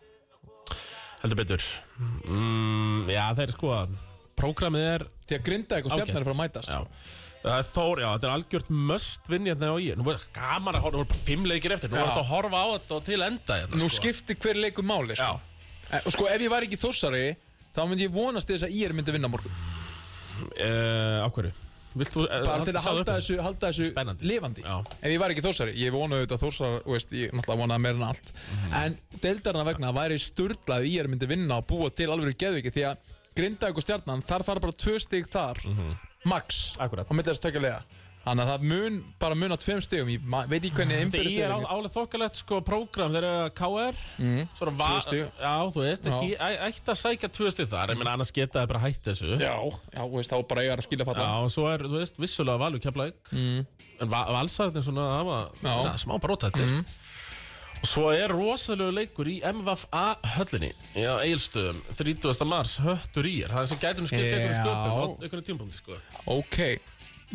Heldur betur mm, Já, það er sko að Prógramið er
því að grinda eitthvað
Ágætt.
stefnar er að fara að mætast
já, Það er Þór, já, þetta er algjört möst vinn hérna á ég Nú er gaman að horfa, nú er bara fimm leikir eftir Nú
Já.
er þetta að horfa á þetta og til enda hérna,
Nú
sko.
skipti hver leikur máli sko.
Já,
Eh, Og sko ef ég væri ekki þossari Þá myndi ég vonast til þess að ég er myndi vinna á morgun
uh, á hverju? Vilt þú eh,
Bara til að
sagði
halda
upp?
þessu, halda þessu
Spennandi.
lifandi
Já.
Ef ég væri ekki þossari Ég vonaði auðvitað þossar þú veist, Ég náttúrulega vonaði meira en allt
Mhm.
En deildarna vegna væri sturglað Ég er myndi vinna og búa til alveg geðviki Því
Mhm.
að grinda ykkur stjarnan Þar fara bara tvö stig þar Max
Akkúrat.
Á milli þess tökja lega Þannig að það mun bara mun á tveim stegum Ég ma- veit
[laughs]
ekki hvernig
Því
innbyrðis
er
er
á- álega þokkalegt sko prógram þeir eru að KR Svo er
Mhm. Tvö
var,
stig.
já þú veist
Já.
ekki, æ- ætti að sækja tvö stig þar en annars geta það bara hætt þessu
Já, já, þú veist, þá bara eiga að skilja falla
Já, og svo er, þú veist, vissulega valur keflaðið mm. En va valsarðin svona, það var
Já.
na, smá brótættir Og svo er rosalegu leikur í MVFA höllinni Í Egilstöðum, 30. mars, höttur í er Það er sem gætum skipt yeah. einhvern
Já.
sköpum á einhvern tímpúndi, sko
Ok,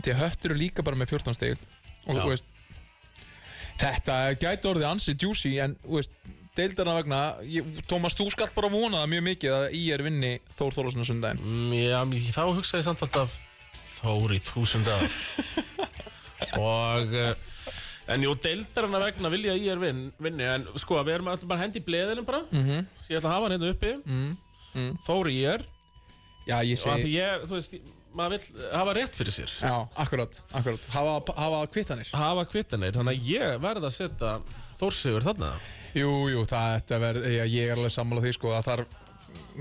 því að höttur eru líka bara með 14 steg Og
Já.
þú veist Þetta gæti orðið ansi juicy En, þú veist, deildarna vegna ég, Tómas, þú skalt bara vona það mjög mikið Að í er vinni Þór Þólasuna sundaginn
mm, Já, mér- þá hugsaði ég samt alltaf Þóri þúsunda [laughs] Og eh, En jú, deildarana vegna vilja ég er vin, vinni En sko, við erum alltaf bara hendi í bleðinum bara -hmm. Ég ætla að hafa hann hérna uppi mm. Mm. Þóri ég er
Já, ég
Og af
segi
því ég, þú veist, maður vill hafa rétt fyrir sér
Já, akkurat, akkurat Hafa, hafa kvittanir
Hafa kvittanir, þannig að ég verð að setja Þórsigur þarna
Jú, jú, það þetta verð ég, ég er alveg sammála því, sko, að þar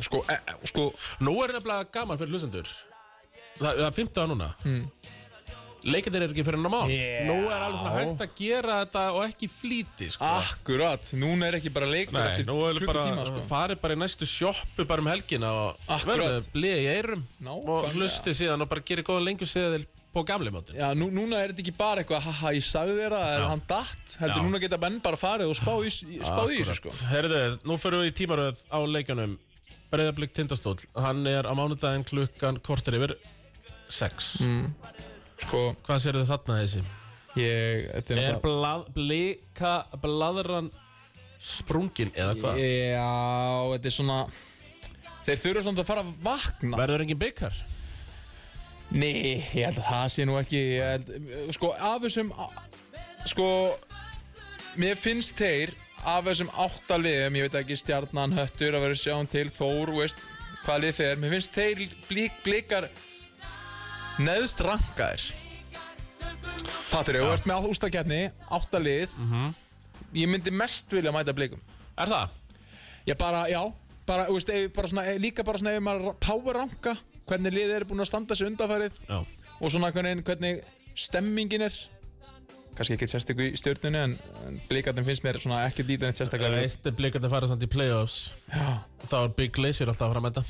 sko, e, e, sko,
Nú er nefnilega gaman fyrir hlustendur Það, það er 15 núna mm. Leikendir eru ekki fyrir hennar mál
Hmm. Já.
Nú er alveg svona hægt að gera þetta og ekki flýti sko.
akkurat núna er ekki bara leikur
Nei,
Ah, eftir
nú er bara sko.
klukkutíma, sko
farið bara í næstu sjoppu bara um helgina og
Akkurat.
verður blið í eyrum og
Nákvæmlega.
hlusti síðan og bara gerir góða lengur síðan på gamli mátin
Já, nú, núna er þetta ekki bara eitthvað, haha, ég sagði þér að
Já.
hann datt, heldur
Já.
núna geta menn bara farið og spáði í spáð í þessu, sko
Herðu, nú förum við í tímaröð á leikjanum Breiðablík Tindastóll Hann er á mánudaginn klukkan kortir yfir 6
Sko,
Hvað sérðu þarna þessi?
ég, þetta er
Er blað, blika bladran sprungin eða hvað?
Já, þetta er svona Þeir þurfa svona að fara að vakna
Verður engin byggar?
Nei, ég held að það sé nú ekki ég held, Sko, af þessum Sko Mér finnst þeir af þessum átta liðum Ég veit ekki stjarnan, höttur að vera sjáum til Þór, þú veist, hvað lið þeir Mér finnst þeir blík, blíkar Neðst rankaðir Fattur ég, þú ert með ústakefni Átta lið Ég myndi mest vilja mæta blíkum
Er það?
Ég bara, já bara, þú veist, ef, bara svona, Líka bara svona ef maður power ranka Hvernig liðið eru búin að standa sig undanfærið
Já
og svona hvernig, hvernig stemmingin er kannski ekki sérstakku í stjórnunni en, en blíkarnir finnst mér svona ekki lítið neitt sérstaklega vel.
Eitt er blikarnir fara samt í playoffs
Já.
Þá er Big Glacier alltaf að fara að mæta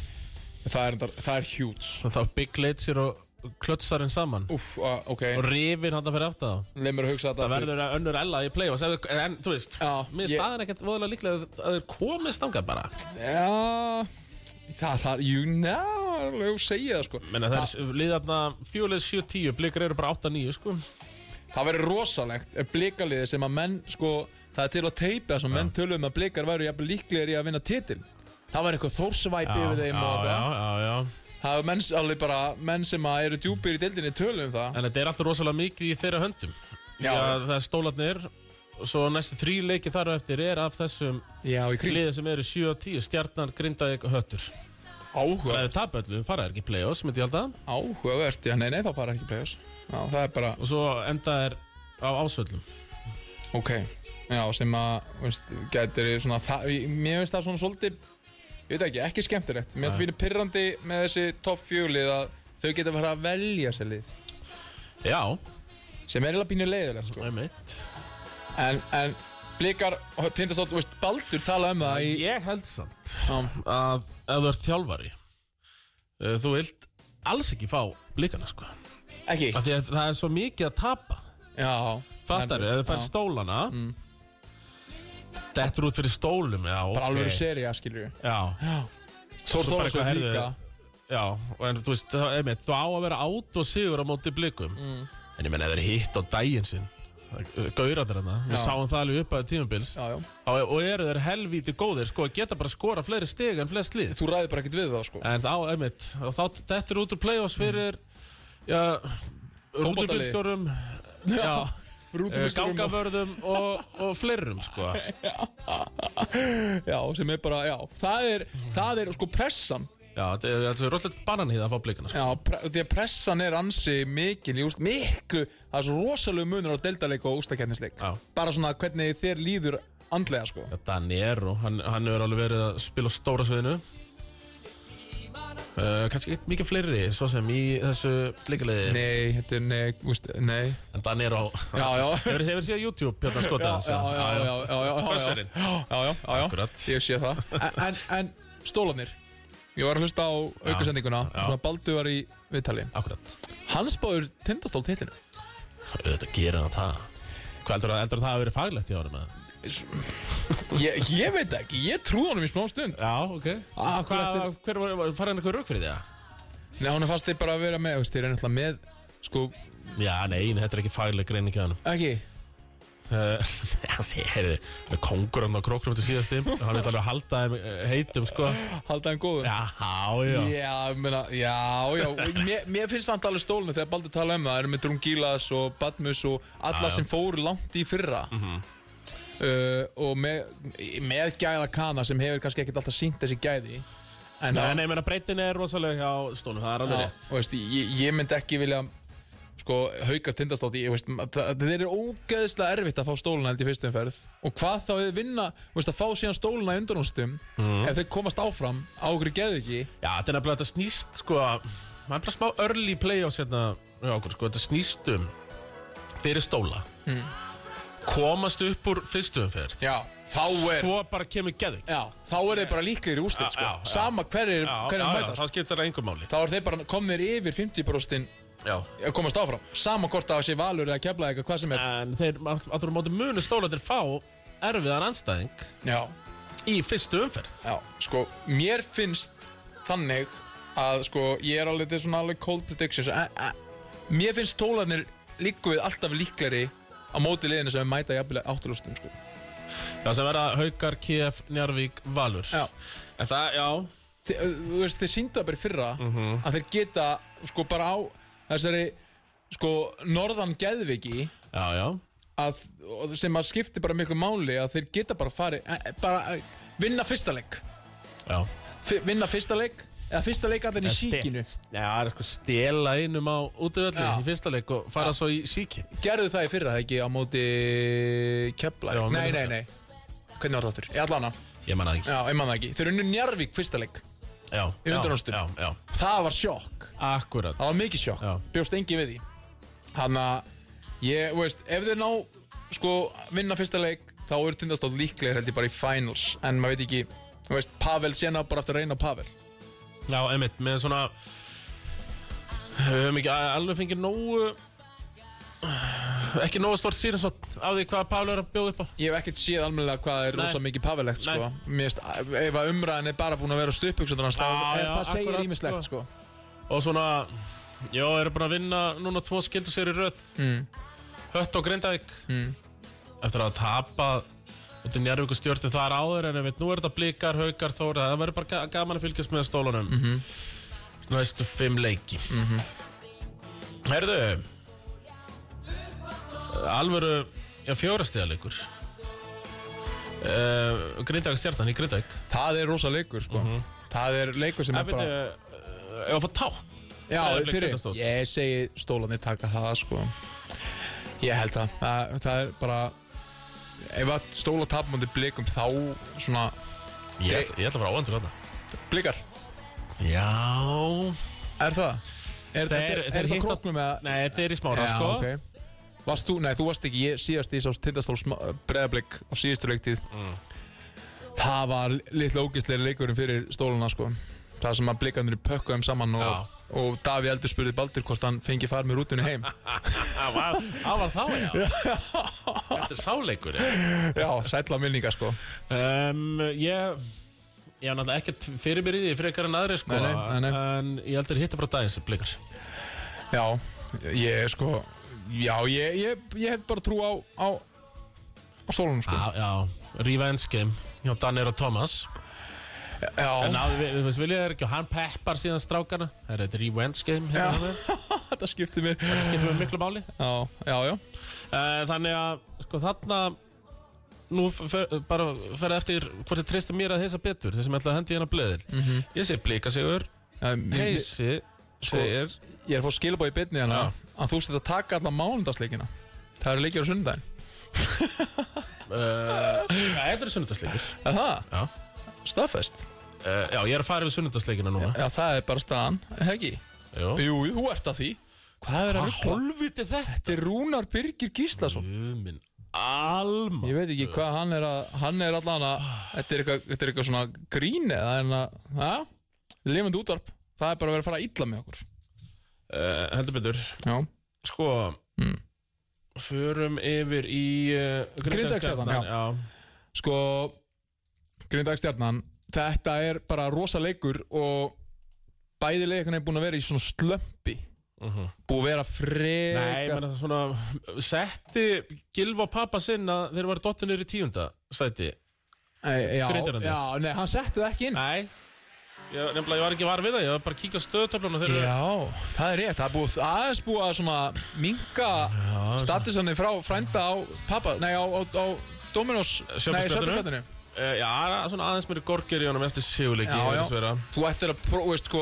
það er, endar- það er huge
Þá er Big Glacier og klötsarinn saman
Úff, uh, ok,
Og rifin hann að fyrir aftan þá
leið mér að hugsa þetta
Það
aftur.
verður að önnur ella í playoffs ef þau- En þú veist,
Já,
mér
ég-
staðan ekkert voðalega líklega að- að þeir komist þangað bara
Já, það, það er, jú, ná, alveg að segja það sko
Menna, það er liðarna fjólið 7-10, blikar eru bara 8-9 sko.
Það verður rosalegt ef blíkaliðið sem að menn sko, það er til að teipa sem menn tölum að blíkar væru jafnvel líklegir í að vinna titil Það var eitthvað þórsvæpi yfir þeim
já,
og það
já, já.
Það er menn, alveg bara menn sem að eru djúpir í deildinni tölum um það
En þetta er alltaf rosalega mikið í þeirra höndum Já,
Já.
það er stólarnir og svo næstu þrý leiki þar á eftir er af þessum
Já, í kring
liðið sem eru 7-10, stjarnan, grindaðik og höttur Það er
Áhugavert
tapöllu, fara er ekki í play-offs, myndi ég alltaf
Áhugavert, já nei nei þá fara ekki play-offs Já það er bara,
og svo enda er á ásvöllum
ok Já sem að, veist, gætir í svona það, Mér finnst það svona svolítið Ég veit ekki, ekki skemmtilegt Mér finnst það fyrir pyrrandi með þessi topp fjúlið að þau geta fara að velja sér lið
Já,
sem er eiginlega pínu leiðilegt sko.
einmitt
en, en blikar, tindastótt, veist, Baldur tala um það í,
Ég held samt
Já.
að ef þú ert þjálfari eh, þú vilt alls ekki fá blikana sko Af
ekki,
því að það er svo mikið að tapa
já
Fattar ef þú fær
Já. Mm.
stólana Dettur út fyrir stólum Já, ok
bara alveg okay. serið, skilur við
Já,
Þór
bara
Þólasson
eitthvað,
líka
heyrðu, já og en þú veist, það, einmitt, þú á að vera át og sigur á móti blikum
Mm.
En ég menn, ef það er hitt á daginn sinn Gauratir hana, við
Já.
sáum það alveg upp að tímabils
já, já.
Og og eru þeir helvíti góðir, sko, geta bara skora fleiri stig en flest lið
þú ræðir bara ekkert við það sko.
En þá, einmitt, og þá dettur út úr play-offs fyrir, já,
Fótboltaliði.
rútubílstjórum Já, eh,
Rútumisturum og-
gangavörðum og, og fleirum, sko
Já, sem er bara, já, það er, það er sko pressan
Já, þetta er, þetta er rosalega bananhýða að fá blikana, sko
Já, pre því að pressan er ansi mikil, ég úst, miklu, það er svo rosalegu munur á deildaleik og ústakennisleik
Já.
Bara svona hvernig þér líður andlega sko
Danny Erro, hann, hann hefur alveg verið að spila á stóra sviðinu uh, kannski ekki mikið fleiri, svo sem í þessu líkaliði,
Nei, þetta er, nei, úst, nei
en Dan er á
Já, já
Hefur þið verið síðan YouTube, hérna Björn Skota?
Já, já, já, já, já, já, já,
Kössurinn.
já, já, já, já.
Akkurat.
Ég sé það En, en, en stólanir Ég var að hlusta á aukasendinguna
já.
Svona Baldur var í viðtali
Akkurat.
Hann spáður tindastól titlinu
Þetta gerir hann það. Hvað heldur það, heldur það hafi verið faglegt í árum eða?
ég, ég veit ekki, ég trúði honum í smá stund
Já, ok.
Ah, akkurat,
Hvað, hver var, var farið hann eitthvað rauk fyrir því það?
Nei, hún er fastið bara að vera með, þú veist, þeir eru náttúrulega með Sko,
Já, nei, þetta er ekki fagleg greining hjá hann.
ekki
Uh, heyrðu, [laughs] hann er kongur hann á króknum til síðast um. Hann vil alveg halda þeim eh, heitum, sko.
Halda hann góðum
Já, já.
Já, ég meina, já, já, og mér, mér finnst samt alveg stólinu þegar Baldur tala um það, það eru með Drungilas og Badmus og alla sem fóru langt í fyrra uh, og með, með gæða Kana sem hefur kannski ekkert alltaf sínt þessi gæði en
Nei,
það,
nei, menna breytin er rosalega hjá stónum, það er alveg
já,
rétt.
og veist, ég, ég myndi ekki vilja sko, haukar tindastóti, ég veist, það, þeir eru ógeðslega erfitt að fá stóluna held í fyrstu umferð og hvað þá við vinna, þú veist, að fá síðan stóluna í undurnústum,
Mhm.
ef þeir komast áfram á okkur geðu ekki,
Já, þetta er nefnilega, þetta snýst sko maður er bara smá early playoffs hérna hjá okkur, sko, þetta snýst um fyrir stóla komast upp úr fyrstu umferð
já, þá er
svo bara kemur geðvik
Sko, Já, þá er þeir bara líklegir í úrslit
Já,
sko.
já, já.
Sama hverjir hver mætast
það skiptir það engum máli
Þá er þeir bara komnir yfir 50%
já.
að komast áfram Sama hvort að það sé valur eða kefla eitthvað hvað sem er
en þeir, áttur á móti munu stólandir fá erfiðan anstæðing
Já,
í fyrstu umferð
já, sko Mér finnst þannig að sko ég er alveg þetta er svona alveg cold predictions a, a, Mér finnst tólanir líku við alltaf líklegri á móti liðinu sem er mæta jafnilega átturlústum sko
það sem verða Haukar, KF, Njarvík, Valur
Já.
en það, já,
Þe- þú veist, þeir síndu það bara í fyrra að þeir geta sko bara á þessari sko norðan geðviki
já, já
að, og sem að skipti bara miklu máli að þeir geta bara farið e- e- bara e, vinna fyrsta leik
já
F vinna fyrsta leik eða fyrsta leik allir í síkinu
Já, það er sko stela einum á útvöldu
Já.
í fyrsta leik og fara svo í síkin
gerðu það í fyrra það ekki á móti kepla
Já,
nei,
mér-
nei, nei, hvernig var það aftur? Ég allana,
Ég manna ekki
já, ég man það ekki þeir unnu Njarvík fyrsta leik
Já,
Í
já,
undanúrslitum.
Já, já,
það var sjokk,
akkurat
það var mikið sjokk
Já.
bjóst engi við því hann að, ég, þú veist, ef þeir ná sko, vinna fyrsta leik þá er tindastótt líklegir held ég bara í finals en maður veit ekki, þú veist, Pavel sena bara aftur að reyna á Pavel
Já, einmitt, með svona Við höfum ekki a- alveg fengið nógu Ekki nógu stort síðan Af því hvað Pálu er að bjóða upp á
Ég hef ekkert séð almennilega hvað er
Nei.
rosa mikið pavelegt sko.
Nei.
Mér finnst, ef að umræðin er bara búin að vera stuðbuksundur hans, þá
Já,
er
já,
það segir
akkurat,
ímislegt sko.
Og svona Já, eru bara að vinna núna tvo skildu sér í röð
Mm.
Hött og Grindavík mm. Eftir að tapa Þetta er njárvíku stjórnum þar áður En einmitt, nú er þetta blikar, haukar, þóra Það verður bara ga- gaman að fylgjast með stólunum Næstu fimm leiki mm Herðu Alvöru Já, fjórastíðalegur uh, Grindavík stjartan í Grindavík
Það er rosa leikur sko.
Mhm.
Það er leikur sem
Það
er
byrja
bara
Ég var eh, að fá tá
Já,
það er leik
fyrir,
Tindastóll.
ég segi stólanir taka það sko. Ég held það Það, það er bara Ef að stóla tapmóndi blikum þá svona
Ég ætla ég ætla að fara áandur þetta
blikar
Já
Er það? Er,
Þeir-
þeir, er,
þeir
er það
hitta-
króknum eða?
Nei, þetta er í smára
Já,
sko
ok. Varst þú, nei, þú varst ekki, ég síðast ég sá tindastól breðablik á síðustu leiktið
Mm.
Það var litla ógæstlega leikurinn fyrir stóluna, sko Það sem að blikandur pökkuðum saman
Já.
og, og Daví Eldur spurði Baldur hvort hann fengi far með rútunni
[laughs]
heim
Það var, það var þá, [laughs] já. Þetta er sáleikur, já.
Já, sætla minninga, sko
Um, ég, ég hef náttúrulega ekkert fyrir mér í því frekar en aðri, sko.
Nei, nei, nei, nei.
En ég heldur hitta bara dagins, blikar.
Já, ég, sko Já, ég, ég, ég hef bara trú á, á, á stólunum, sko
Já, já, revenge game hjá Danir og Thomas. En
[laughs] Já,
náðu, við- þú veist, viljið er ekki, og hann peppar síðan strákarna. Það er þetta revenge game, hérna það.
þetta skipti mér
Þetta skiptir með miklu máli.
Já, já, já
Uh, þannig að, sko, þarna, nú fer, bara fer eftir hvort þið treystir mér að hissa betur, þeir sem ætla að hendi hérna blöðil. Ég sé blika sigur,
Um, Mhm. ég,
heisi,
Sko,
segir...
ég er að fá skilabóð í byrni hérna að þú stið að taka alla mánundagsleikina það eru leikir á sunnudaginn
eh, Uh, ja, þetta er sunnudagsleikur
Er það?
Já.
Staðfest
Uh, já, ég er að fara við sunnundagsleikina núna.
Já, það er bara staðan, eða ekki?
Jú.
Jú, jú, þú ert að því Hvað er að rugla?
hólfviti þetta?
Þetta er Rúnar Birgir Gíslason
Guð minn alma.
Ég veit ekki hvað hann er að Hann er allan að Þetta er eitthvað, þetta er eitthvað svona grín eða en að Já, lifandi útvarp Það er bara að vera að fara að illa með okkur
Uh, heldur betur.
Já
Sko,
Mm.
förum yfir í uh,
Grindavík-Stjarnan,
Grindavík-Stjarnan,
já. Sko Grindagstjarnan Þetta er bara rosa leikur og bæði leikurinn er búin að vera í svona slömpi
Mhm.
Búið að vera frekar
Nei, menn það svona setti Gilva pappa sinn að þeir var dottinir í tíunda sæti.
Nei, já,
Grindavíkurandi.
já, nei, hann setti það ekki inn
Nei, ég, nefnilega ég var ekki var við það, ég var bara að kíka stöðtöflun og þeir eru...
Já, það er rétt, það er búið aðeins búið að svona minka statusanni frá frænda á pappa, nei á, á, á Dominos, nei,
Söfnuspjaldinu.
söpinspjöldinu
Uh, já, svona aðeins mér gorgir í honum eftir sigurleiki,
Já,
ég
já.
veist vera.
Þú ættir að prófa, veist, sko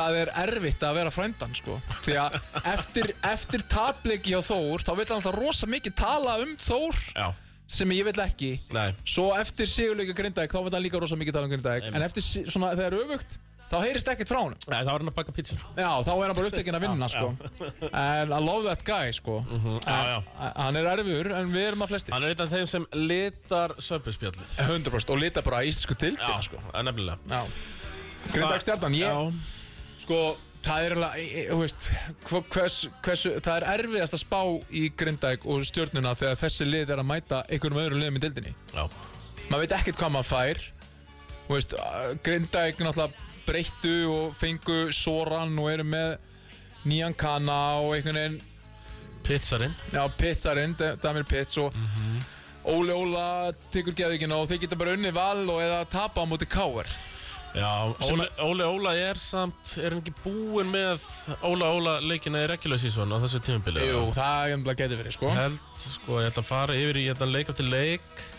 það er erfitt að vera frændan, sko því að eftir, eftir tapleiki hjá Þór, þá vil hann alltaf rosa mikið tala um Þór
Já,
sem ég vil ekki
nei,
svo eftir sigurleika grindæk þá vil hann líka rosa mikið tala um grindæk en eftir, si- svona, þegar öfugt, þá heyrist ekkert frá honum
nei, það var hann að baka sko. pítsur.
Já, þá er hann bara upptekinn að vinna, sko. En I love that guy, sko.
Mhm, Já, já.
En Hann er erfur, en við erum að flesti.
Hann er einn af þeim sem litar söpinspjallið.
100% og lita bara í íslensku
Já,
dildina,
sko, það er nefnilega.
Já. Grindag stjarnan, ég,
Já,
sko, það er alveg, e- e- þú veist, hva- hvers, hversu, það er erfiðast að spá í Grindag og stjörnuna þegar þessi lið er að mæta einhverjum öðrum liðum í dildinni.
já,
Maður veit ekkert hvað maður fær. Þú veist, Grindag náttúrulega breyttu og fengu Soran og eru með nýjan Kana og einhvern veginn
pítsarinn.
Já, Pizzarinn, Damir Pizz og Óli Óla tekur geðvíkina og þeir geta bara unni val og eða tapa á móti Káar
Já,
Sem
Óli, Óli Óla er samt, er hann ekki búinn með Óla Óla leikina í regular season á þessu tímubili?
Jú, það er umlega getur verið, sko
Held, sko, ég ætla að fara yfir í þetta leik eftir leik.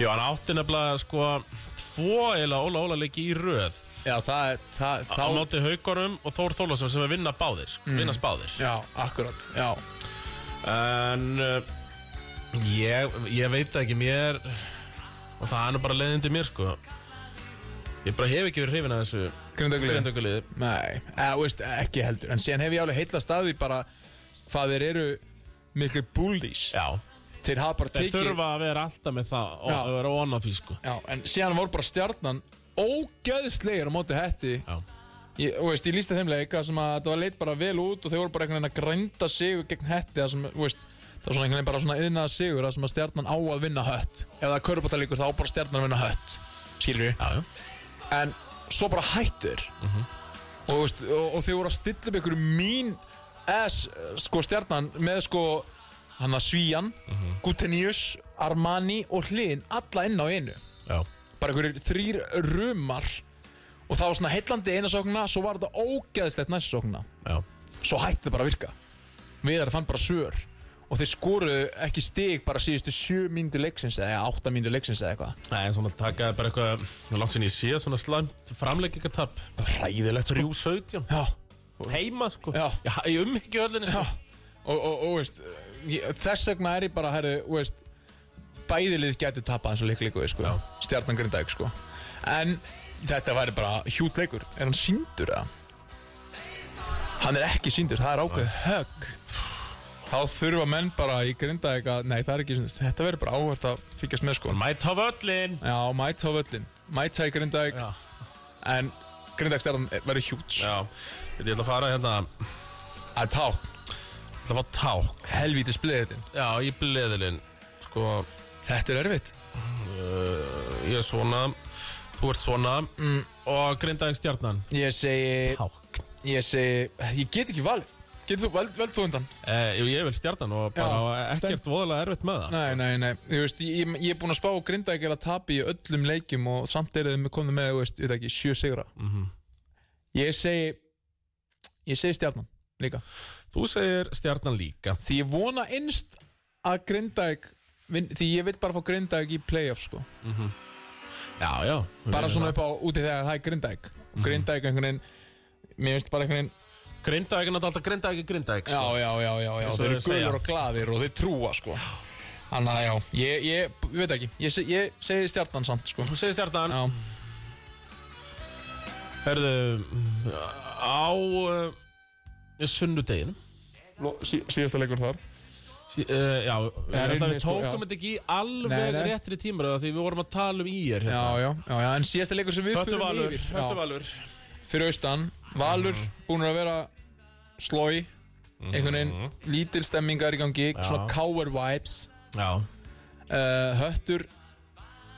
Jú, hann átti nefnilega, sko, tvo eila Óla Óla leiki í röð.
Já, það er, það,
Á
þá Mm.
móti Haukorum og Þór Þólasum sem er vinna báðir, sko, vinna spáðir.
Já, akkurat, já
En uh, ég, ég veit það ekki, mér, og það er nú bara leiðindi mér, sko. Ég bara hef ekki verið hrifin að þessu
Grindaglið
grindaukuliði.
Nei, eða, þú veist, ekki heldur En síðan hef ég alveg heilla staði bara hvað þeir eru miklu búldís
Já,
Þeir hafa bara
Þeir
tekið
þurfa að vera alltaf með það og
Já.
að vera on á því sko
Já, en síðan voru bara stjarnan ógeðslegir á móti hætti
Já,
Ég, þú veist, ég lísti þeim leik að sem að það var leit bara vel út og þeir voru bara einhvern veginn að grænda sigur gegn hetti það sem, þú veist, það var svona einhvern veginn bara svona yðnaða sigur að sem að stjarnan á að vinna hött ef það er körpáttalíkur þá á bara stjarnan að vinna hött skilur við,
já, já.
en svo bara hættur og, þú veist, og, og þeir voru að stilla upp einhverju mín S, sko stjarnan með sko hann að Svíjan, Gutenius Armani og Hlyn alla inn á einu
já.
bara einhverjir þrýr rumar og það var svona heillandi eina sóknuna svo var þetta ógeðslegt næsta sóknuna
já.
svo hætti það bara að virka Viðar fann bara sör og þeir skoruðu ekki stig bara síðustu 7 mínútu leiksins eða 8 mínútu leiksins eða eitthvað
Nei, en svona takaði bara eitthvað nú langt sinni ég sé svona slæmt framleggingatapp
ræðilegt sko
3-17
já,
heima sko
Já.
já í umhyggju öllinni sko.
já. og, og, og veist ég, þess vegna er ég bara herri, veist, bæðilið getur tapað eins og leiklíkuði sko, stjarnan grindaði sko. en þetta væri bara hjút leikur er hann síndur eða? hann er ekki síndur, það er ákveð högg þá þurfa menn bara í grinda að, nei það er ekki síndur þetta verður bara áhvert að fylgjast með sko
Mæta á völlin
já, mæta á völlin, mæta í grinda
Já.
en grinda stjarnan verður hjút
Já, þetta ég ætla að fara hérna Ég
að tá,
ætla að fá ták
helvítið spliðitin
Já, í bleðilin Sko,
þetta er erfitt
ég er svona Þú ert svona
Mm.
Og grindaði stjarnan
ég segi
Ták
Ég segi, ég get ekki valið Getur þú, veld, veld þú undan?
eh, Jú, ég vil stjarnan og bara
Já,
ekkert voðalega erfitt með það
Nei, nei, nei, ég veist, ég, ég er búinn að spá grinda ekki að tapi í öllum leikjum og samt er þið komið með, þú veist, við ekki, sjö sigra Ég segi Ég segi stjarnan líka
Þú segir stjarnan líka
Því ég vona innst að grinda ekki Því ég vil bara fá grinda ekki í playoff, sko
Já, já
Bara svona upp á úti þegar það er grinda ekki Grinda ekki einhvern veginn Mér finnst bara einhvern veginn
Grindavík er náttúrulega alltaf Grindavík, Grindavík sko.
Já, já, já, já, já
Eins og
Þeir eru
þeir segja.
gulur og glaðir og þeir trúa, sko Þannig að já, ég, ég, ég veit ekki Ég, se- ég segi stjarnan samt sko
Þú segir stjarnan
Já,
Herðu Á uh, Sunnudeginum
Lo- sí- síðasta leikur þar
Sí- eh, Já, við,
Já,
ætla,
rauninni,
við
sko,
tókum
já.
þetta ekki í alveg
Nei, nei.
réttri tímur Því við vorum að tala um í er
já, já, já, já En síðasta leikur sem við
Höttu
förum
Valur,
yfir
Höttu
já,
Valur
Fyrir austan, Valur
Mhm.
búin að vera slói Einhvern
Mhm.
veginn lítil stemmingar í gangi Svona káver vibes
Já,
uh, Höttur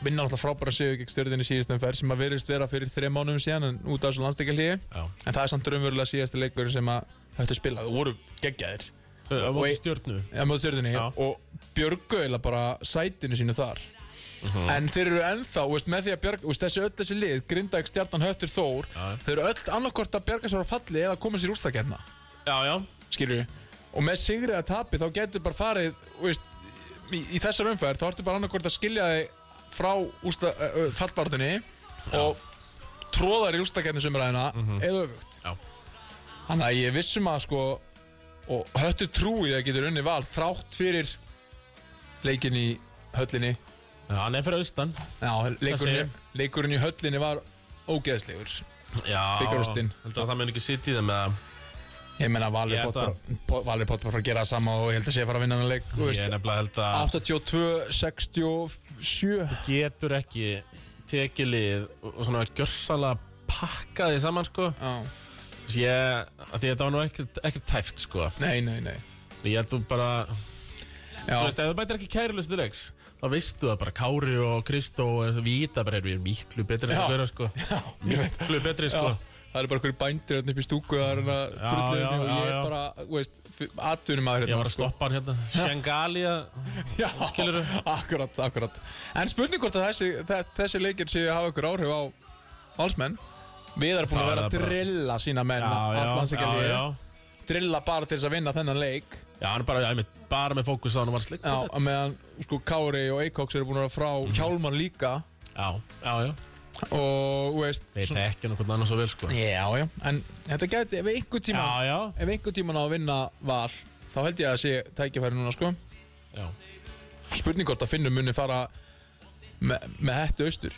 vinna alltaf frábæra sigur gegn stjörðinni síðustum ferð sem að verðist vera fyrir þrejum mánuðum síðan en út af þessu landsleikarhléi.
já
en það er samt raunverulega síðasti leikur sem að Höttur spilaði og voru geggjaðir
Það var
Og-
stjórnu
á móti stjörðinni
Já.
og björgu eða bara sætinu sínu þar
Mhm.
en þeir eru ennþá, veist, með því að björg veist, þessi öll þessi lið, Grindag, Stjarnan, Höttur, Þór
Já.
þeir eru öll annarkvort að björga sér á falli eða koma sér úrstakefna
Já, já
skilur við og með sigrið að tapi þá getur bara farið veist, í, í þessar umferð þá ertu bara annarkvort að skilja þig frá ústa, uh, uh, fallbártunni og tróðar í ústakefni sumraðina eða öfugt
Mhm. Já.
þannig að ég er vissum að sko og höttu trúið að getur unni val þrátt fyrir leikin í höllinni
Já, Hann er fyrir austan
Já, leikurinn,
segir?
í- leikurinn í höllinni var ógeðslegur
Já
Bikarúrslitin.
Heldur að það mun ekki sitt í þeim eða
ég menna Valur
Ég held
Potbar Valur Potbar fara að gera það sama og ég held að sé að fara að vinna hann leik þú
Ég
veist,
er nefnilega held að
82, 67
Getur ekki tekið lið og svona gjörsalega pakka því saman sko Þess ég, að því þetta var nú ekkert, ekkert tæft sko
Nei, nei, nei
Ég held þú bara,
Já,
þú veist, ef þú bætir ekki kærlust til leiks Þá veistu það bara, Kári og Kristó og Víta bara er við erum miklu betri en
Já.
það vera sko
já, [laughs] ég veit
Miklu betri
já,
sko
Það eru bara hverju bændir hérna upp í stúku Það er hérna
já,
drulluðinni og
já,
ég
já.
er bara, þú veist, atvinnum að
Ég
hérna
var að
sko.
stoppa hann hérna Shangali
Já,
skilurðu.
akkurat, akkurat En spurning hvort að þessi, þe- þessi leikir séu að hafa ykkur áhrif á valsmenn Við erum búin
Það
að
er
vera að
bara-
drilla sína menn
já,
Allansikalíði
já
Drilla bara til þess að vinna þennan leik
Já, hann er bara, já, einmitt, bara með fókus á hann og var slik
Já, að meðan sko Kári og Eikoks eru búin að vera frá
Mhm.
Hjálmar líka
já, já, já
Og, þú veist,
Veit
svona-
ekki hann hvernig annars svo vel sko
Já, já, en þetta gæti, ef einhver tíma
Já, já,
ef einhver tíma ná að vinna val þá held ég að það sé tækifæri núna sko
já
spurning hvort að finnum muni fara me, með hættu austur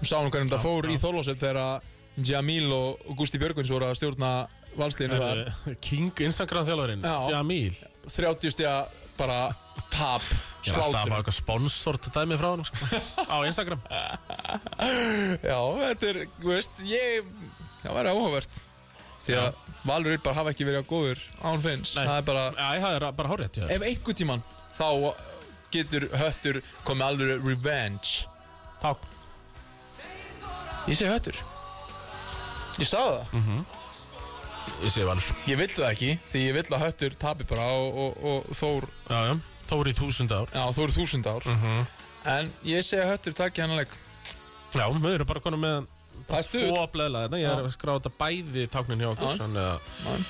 og sá hún hvernig það fór í Þorlósef þegar að Jamil og og Gústi Björgvins voru að stjórna valsliðinu þar
Herru, King Instagram þjálfarinn
Já.
Jamil
30 stiga bara
[laughs]
tap
Ég er alltaf að fá
slátur
eitthvað sponsort dæmi frá hann
[laughs]
sko. Á Instagram
Já, þetta er, þú veist, ég það væri áhugavert því að Valur bara hafa ekki verið á góður án finns,
Nei.
það er bara
Já, það er bara hárétt hjá þér.
ef einhver tíman þá getur höttur komið alveg revenge
Þá
ég segi höttur ég sagði það,
Mm. Ég sé valur
ég vill það ekki því ég vill að höttur tapi bara og, og, og þór,
Já, já Þá er í þúsund ár
já, þór þúsund ár
Mhm.
en ég segi að höttur taki hennar leik
Já, við erum bara konum með
það er stuð
Tvo bleðla þetta Ég er að skráta bæði táknin hjá okkur
Já.
Þannig að
Man.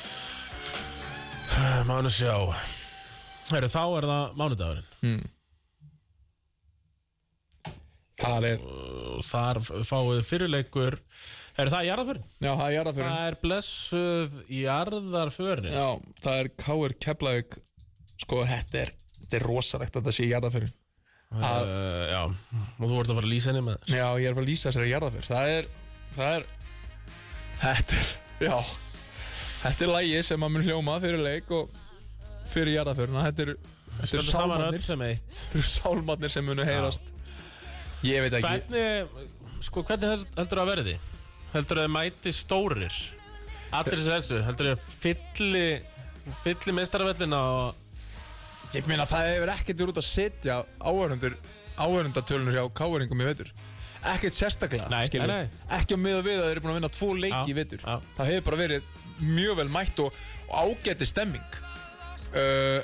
Mánu sjá Herru, þá er það mánudagurinn
það er,
Og þar fáið fyrirleikur Herru, það er jarðaförin
já það er jarðaförin
Það er blessuð jarðarförin
já, það er K.R. Keflavík sko þetta er, þetta er rosalegt að þetta sé jarðaförin
uh, Já, og þú ert að fara að lýsa henni með
já, ég er að fara að lýsa þessari jarðaför það er, það er þetta er, já þetta er lægi sem að mun hljóma fyrir leik og fyrir jarðaförina þetta er, þetta er
Stöndum saman öll
sálmannir
sem eitt
Þetta eru sálmarnir sem munu heyrast Ég veit ekki
Hvernig, sko, hvernig held- heldur það að verði? Heldur það að þið mæti stórir? Allir þessi helstu, heldur það að fylli fylli meistarvellina og
Ég meina það hefur ekkert verið út að setja áhörundur áhörundatölunur hjá káveringum í vetur Ekkert sérstaklega
Nei,
skilur
nei,
við. Ekki á miða við að þeir eru búin að vinna tvo leiki
Já,
í vetur
já.
Það hefur bara verið mjög vel mætt og, og ágæti stemming uh,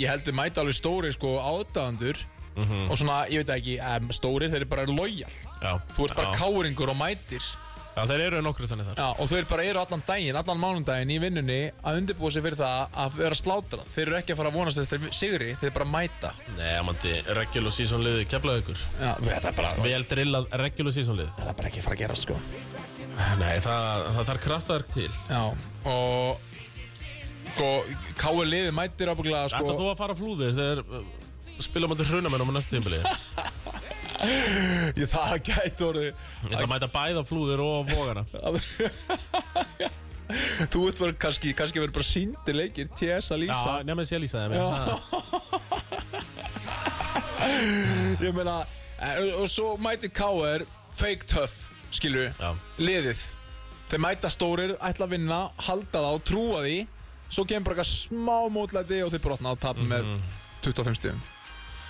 Ég held þið mæta alveg stóri sko ádagandur og svona, ég veit ekki, um, stóri þeir eru bara lojal
Já,
Þú ert bara
já,
káringur og mætir
já, þeir eru nokkru þannig þar
Já, og þeir bara eru allan daginn, allan mánundaginn í vinnunni að undirbúa sig fyrir það að vera slátrað. Þeir eru ekki að fara að vonast eftir sigri, þeir bara mæta.
Nei, að mandi, regular season liði keflaði ykkur
Já, þetta er bara,
Vel drillað regular season lið
þetta er bara ekki að fara að gera, sko.
Nei, það, það þarf kraftaverk til
Já, og sko, K.R. liði mætir ábygglega,
Ætlar
sko,
þú að fara á flúðir þegar uh, spila mútið hrunamennum á næsta tímbili Ég
[laughs] Ég, það gæti orðið
ætla að mæta bæða flúðir og vogana
[laughs] Þú ert bara kannski, kannski verið bara síndi leikir T.S. að
Já,
lýsa
nefnum þess ég lýsa þeim já.
[laughs] Ég meina, eh, og svo mæti K.R. Fake tough, skilur
Já.
Liðið Þeir mæta stórir, ætla að vinna, halda það og trúa því Svo kemur bara eitthvað smá mótlæti og þeir brotna á tap með 25 stíðum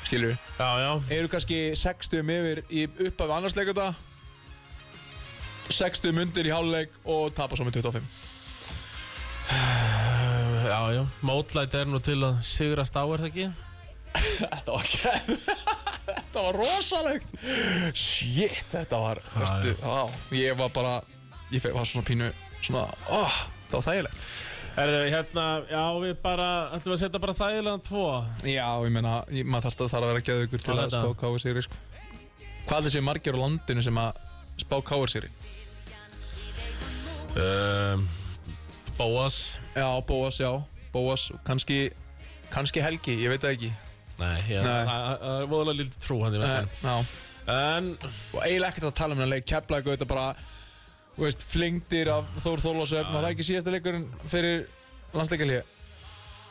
Skilur
já, já,
Eru kannski 6 stíðum yfir í upphaf annars leikjóta 6 stíðum undir í hálfleik og tapa svo með 25
já, já Mótlæti er nú til að sigrast á, er það ekki?
Þetta var gæð [laughs] Þetta var rosalegt Shit, þetta var veistu, á, Ég var bara Ég fe- var svona pínu svona, ó, Það var þægilegt
Erðu, hérna, já, við bara ætlum við að setja bara þægilegan tvo
Já, ég meina, ég- maður þarf að þarf að vera geða ykkur til
Já,
að
þetta.
spá káir sýri sko. Hvað er þessi margir á landinu sem að spá káir sýri?
um, Bóas
Já, Bóas, já, Bóas kannski, kannski Helgi, ég veit það ekki
Nei, já,
Nei.
það það- það er voðalega lítið trú hann í
En,
vestan
já.
En,
og eiginlega ekkert að tala um hennar leik Keflavík auðvitað bara þú veist, flingdir af Þór Þórlásöfn og það er ekki síðasta leikurinn fyrir landsleikalíu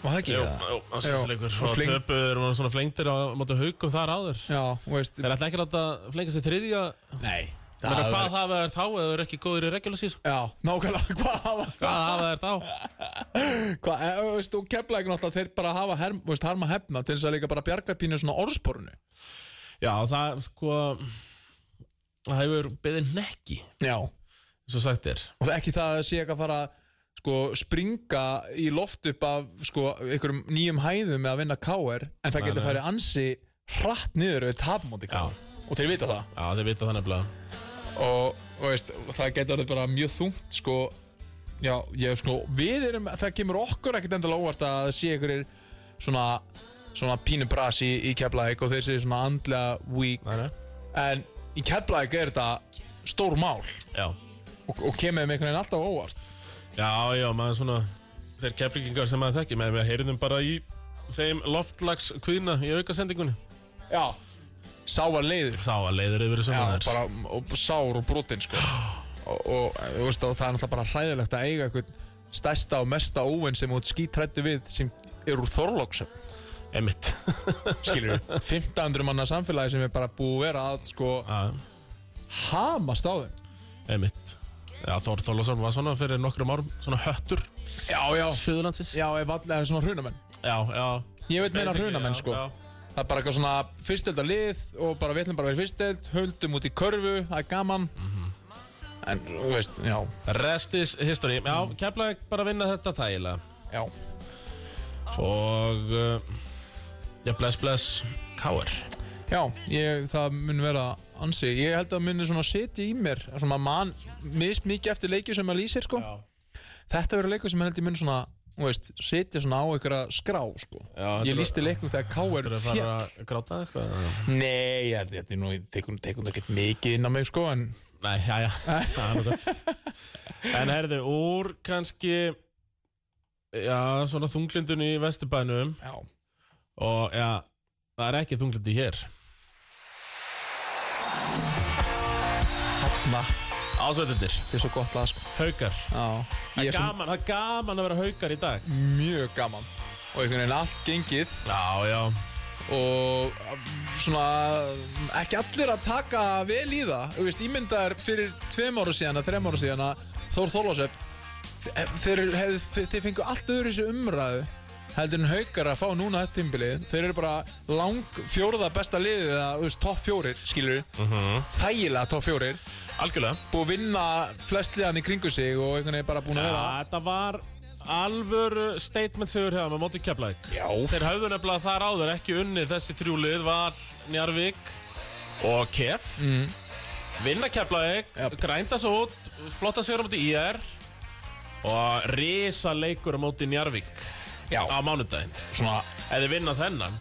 var það ekki
jú,
það?
jú, á sýsleikur
og
Og
fling-
töpuður og svona flengtir á móti haugum þar áður
Já, þú veist
Þeir ætla ekki að láta flenga sig þriðja
Nei
Menna,
það
Hvað
var,
hafa þær þá eða þau eru ekki góður í regular season?
Já, nákvæmlega [laughs] hvað hafa
Hvað hafa þær þá?
hvað, e, þú veist, og Keflavík náttúrulega þeir bara hafa herm, þú veist, harma hefna til þess að líka bara bjarga pínu svona orðsporunu
Já, það sko Það hefur beðið nekki
Já og
Svo sagt er
það er ekki það að sé eitthvað að fara sko springa í loft upp af sko einhverjum nýjum hæðum með að vinna KR en það getur farið ansi hratt niður við tapmóti KR og þeir vita það
Já, þeir vita það nefnilega
og, og veist, það getur orðið bara mjög þungt sko, já, ég sko við erum, það kemur okkur ekkert endala óvart að það sé einhverjir svona svona pínu bras í, í Keflæk og þeir séu svona andlega weak
Nei, nei.
en í Keflæk er þetta stór mál og,
Já,
og kemur með einhvern veginn alltaf á óvart
já, já, maður svona Þeir keflingingar sem maður þekki Maður við heyrðum bara í þeim loftlags kvíðna í aukasendingunni
já, sáar leiður
Sá að leiður yfir þessum
já, bara, og, sár og brotin sko. og, og, og, veist, og það er náttúrulega bara hræðilegt að eiga einhvern stærsta og mesta óvinn sem út skítrættu við sem er úr Þorlóksöfn
[laughs] Emmitt
skilur 1500 manna samfélagi sem er bara búið að vera að sko hamast á þeim
Emmitt Já, Þór Þólasson var svona fyrir nokkrum árum Svona höttur
já, já,
Suðurlandsins
já, ef allir er svona hrunamenn
já, já.
ég veit meina
Basically,
hrunamenn
já,
sko
já.
það er bara eitthvað svona fyrstöldar lið og bara við ætlum bara að vera fyrstöld höldum út í körfu, það er gaman
Mhm.
en þú veist, já
Rest is history Já, Keflavík bara vinna þetta þægilega
já,
Og uh, Já, bless, bless Káir
já ég, það mun vera ansi ég held að muni svona setja í mér svona mann, mist mikið eftir leikju sem maður lýsir sko,
Já.
þetta verður leikur sem ég held ég mun svona þú veist, setja svona á einhverja skrá sko,
Já, þetta
ég
er-
lýsti leikum
Þú
þegar K.R.
eru að
féll
fara að gráta eitthvað
Nei, ég held ég þetta er nú tekum þetta ekkert mikið inn á mig sko en
Nei, já,
[laughs]
já Það er nú gott. En herðu, úr kannski Já, svona þunglindun í vesturbænum
Já,
Og já, það er ekki þunglindi hér
hafna,
Ásveitundir
þetta er svo gott lag sko
Haukar
Já, ég er svo
Gaman, það er gaman að vera haukar í dag
mjög gaman og einhvern veginn allt gengið
Já, já
og uh, svona ekki allir að taka vel í það Þú veist, ímyndaður fyrir tveim ára síðan að þreim ára síðan að Þór Þólásöf þeir, hef, þeir fengu allt öðru þessu umræðu heldur en haukar að fá núna þetta tímbilið þeir eru bara lang fjórða besta liðið eða, þú veist, topp fjórir, skilur Mhm. þægilega topp fjórir
Algjörlega
búið að vinna flest liðan í kringu sig og einhvern veginn bara búin að
Já,
vera
þetta var alvöru statement sigur hefða með móti keflæk
Já.
Þeir höfðu nefnilega þar áður ekki unnið þessi þrjúlið Val, Njarvík og Kef mm. Vinna keflæk,
Japp.
grænda svo út, flotta sigur á móti IR Og risa leikur á móti Njarvík
Já.
á mánudaginn
svona
Ef þið vinna þennan,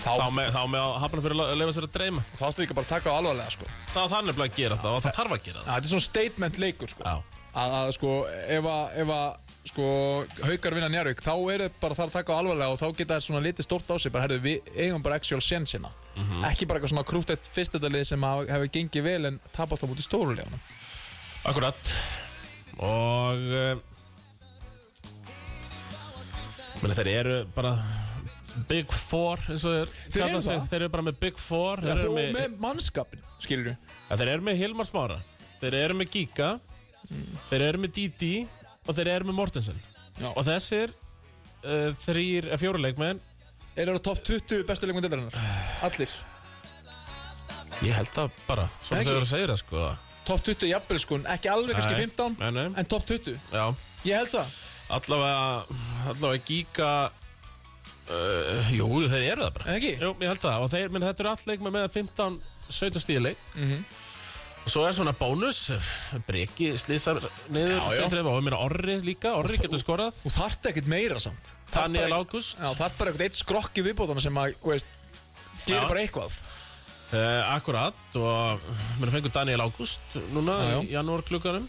þá
þá,
með, þá með að hafna fyrir að leifa sér að dreyma
þá ættu líka bara að taka á alvarlega sko.
Það var þannig að gera þetta og það þarf að gera
Að þetta er svona statement leikur sko.
þetta Já,
að, að sko ef að, ef að sko, haukar vinna Njarvík þá er það bara þar að taka á alvarlega og þá geta það svona litið stórt á sig bara, herðu, við eigum bara actual sense hérna
Mhm.
ekki bara eitthvað svona krúttett fyrstendalið sem hafa- hefur gengið vel en tapast á múti stóruleganum
Akkurat Og uh, meni, Þeir eru bara Big Four eins og þeir,
Þeir
kalla
eru
sig.
það?
þeir eru bara með Big Four
Já,
þeir,
þú
eru
með,
með,
með mannskapin, skilur
ja, þeir eru með Hilmar Smára Þeir eru með Giga Þeir eru með Didi Og þeir eru með Mortensen
Mm. Já.
Og þessir uh, þrýr, eh, fjóri leikmenn
Er það top 20 bestu
[sighs]
leikmenn deildarinnar? Allir
Ég held það bara, svo
Ekki?
þau eru að segja það sko
Top 20 jafnvel sko, ekki alveg kannski
Nei,
15
nei, nei.
En top 20,
Já,
ég held það
allavega Allavega Giga uh, Jú, þeir eru það bara
En ekki?
Jú, ég held það og þeir, menn þetta eru all leikmenn með 15-17 stíli mm
Mhm.
og svo er svona bónus breki slísar niður
Já, já.
tveir, þreif, og ég meina Orri líka, Orri getur skorað
Þú þarft ekkert meira samt Þarft
Daniel
bara-
Ágúst.
Já, þarft bara ekkert eitt skrokk í viðbótana sem að, þú veist
Já.
Gerir bara eitthvað
uh, akkurat og mér fengur Daniel Ágúst núna
Já, já.
í janúar klukkanum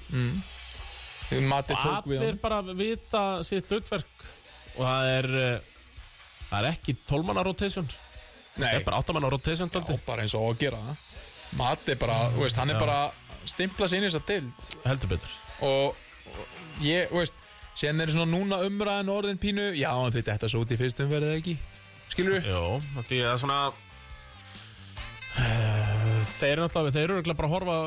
Mati tók við
allir
hann
bara vita sitt hlutverk og það er uh, það er ekki 12 manna rotation það er
Nei,
bara 8 manna rotation
Já,
dálítið.
bara eins og á að gera það Mati bara, þú veist, hann er bara stimplað sér inn í þessa dild
heldur betur
og, og ég, þú veist síðan er svona núna umræðan orðin pínu já, hann þetta þetta svo út í fyrstum verðið ekki skilur við?
Jó, því að svona eh, Þeir eru náttúrulega Þeir eru örugglega bara að horfa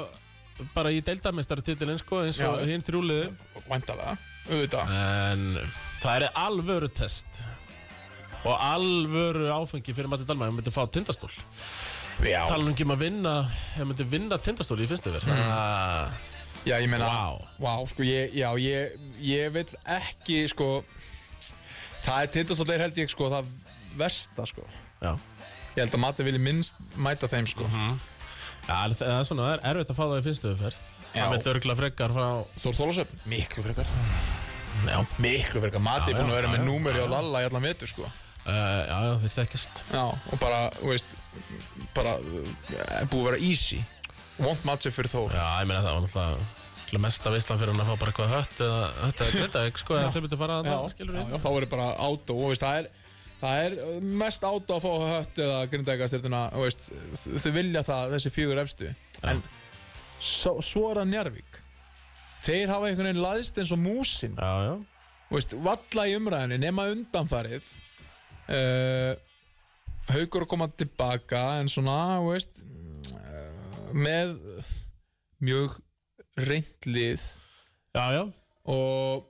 bara í deildarmestartitilin sko eins og
Já.
hinn þrjúliði
Væntalega, auðvitað
En það er alvöru test og alvöru áfengi fyrir Matti Dalma, ég myndi fá tindastól
Já,
tala nú ekki um að vinna ég myndi vinna tindastól í fyrstu verð mm.
já ég meina
Vá.
Vá, sko, ég, já, ég, ég vil ekki, sko það er tindastallir held ég, sko, það versta, sko
Já,
ég held að Mati vilji minnst mæta þeim, sko
Mhm. Já en það það er svona það er erfitt að fá það í fyrstu verð
Já.
Það myndi örgulega frekar frá
Þór Þólasöfn, miklu frekar
Já,
miklu frekar, Mati er búin að
já,
vera
já,
með númeri á Lalla í allan vetur, sko
uh, já, já þeir þekkist
Já, og bara, þú veist bara, uh, búið að vera easy vond matchup fyrir Þór
Já, ég meina það var náttúrulega til að mesta veistlan fyrir hann að fá bara eitthvað hött eða hött eða grindavík, sko, eða þau myndi fara að það, skilur við.
já, þá er bara átó og veist, það, er, það er mest átó að fá hött eða grindækastjörnuna veist, þ- þau vilja það, þessi fjögur efstu en svo, svo er það Njarvík þeir hafa einhvern veginn laðist eins og músin
Já, já.
Þú veist, valla í umræðinni nema undanfarið uh, haugur að koma tilbaka en svona þú veist, uh, með mjög reynd lið
Já, já.
og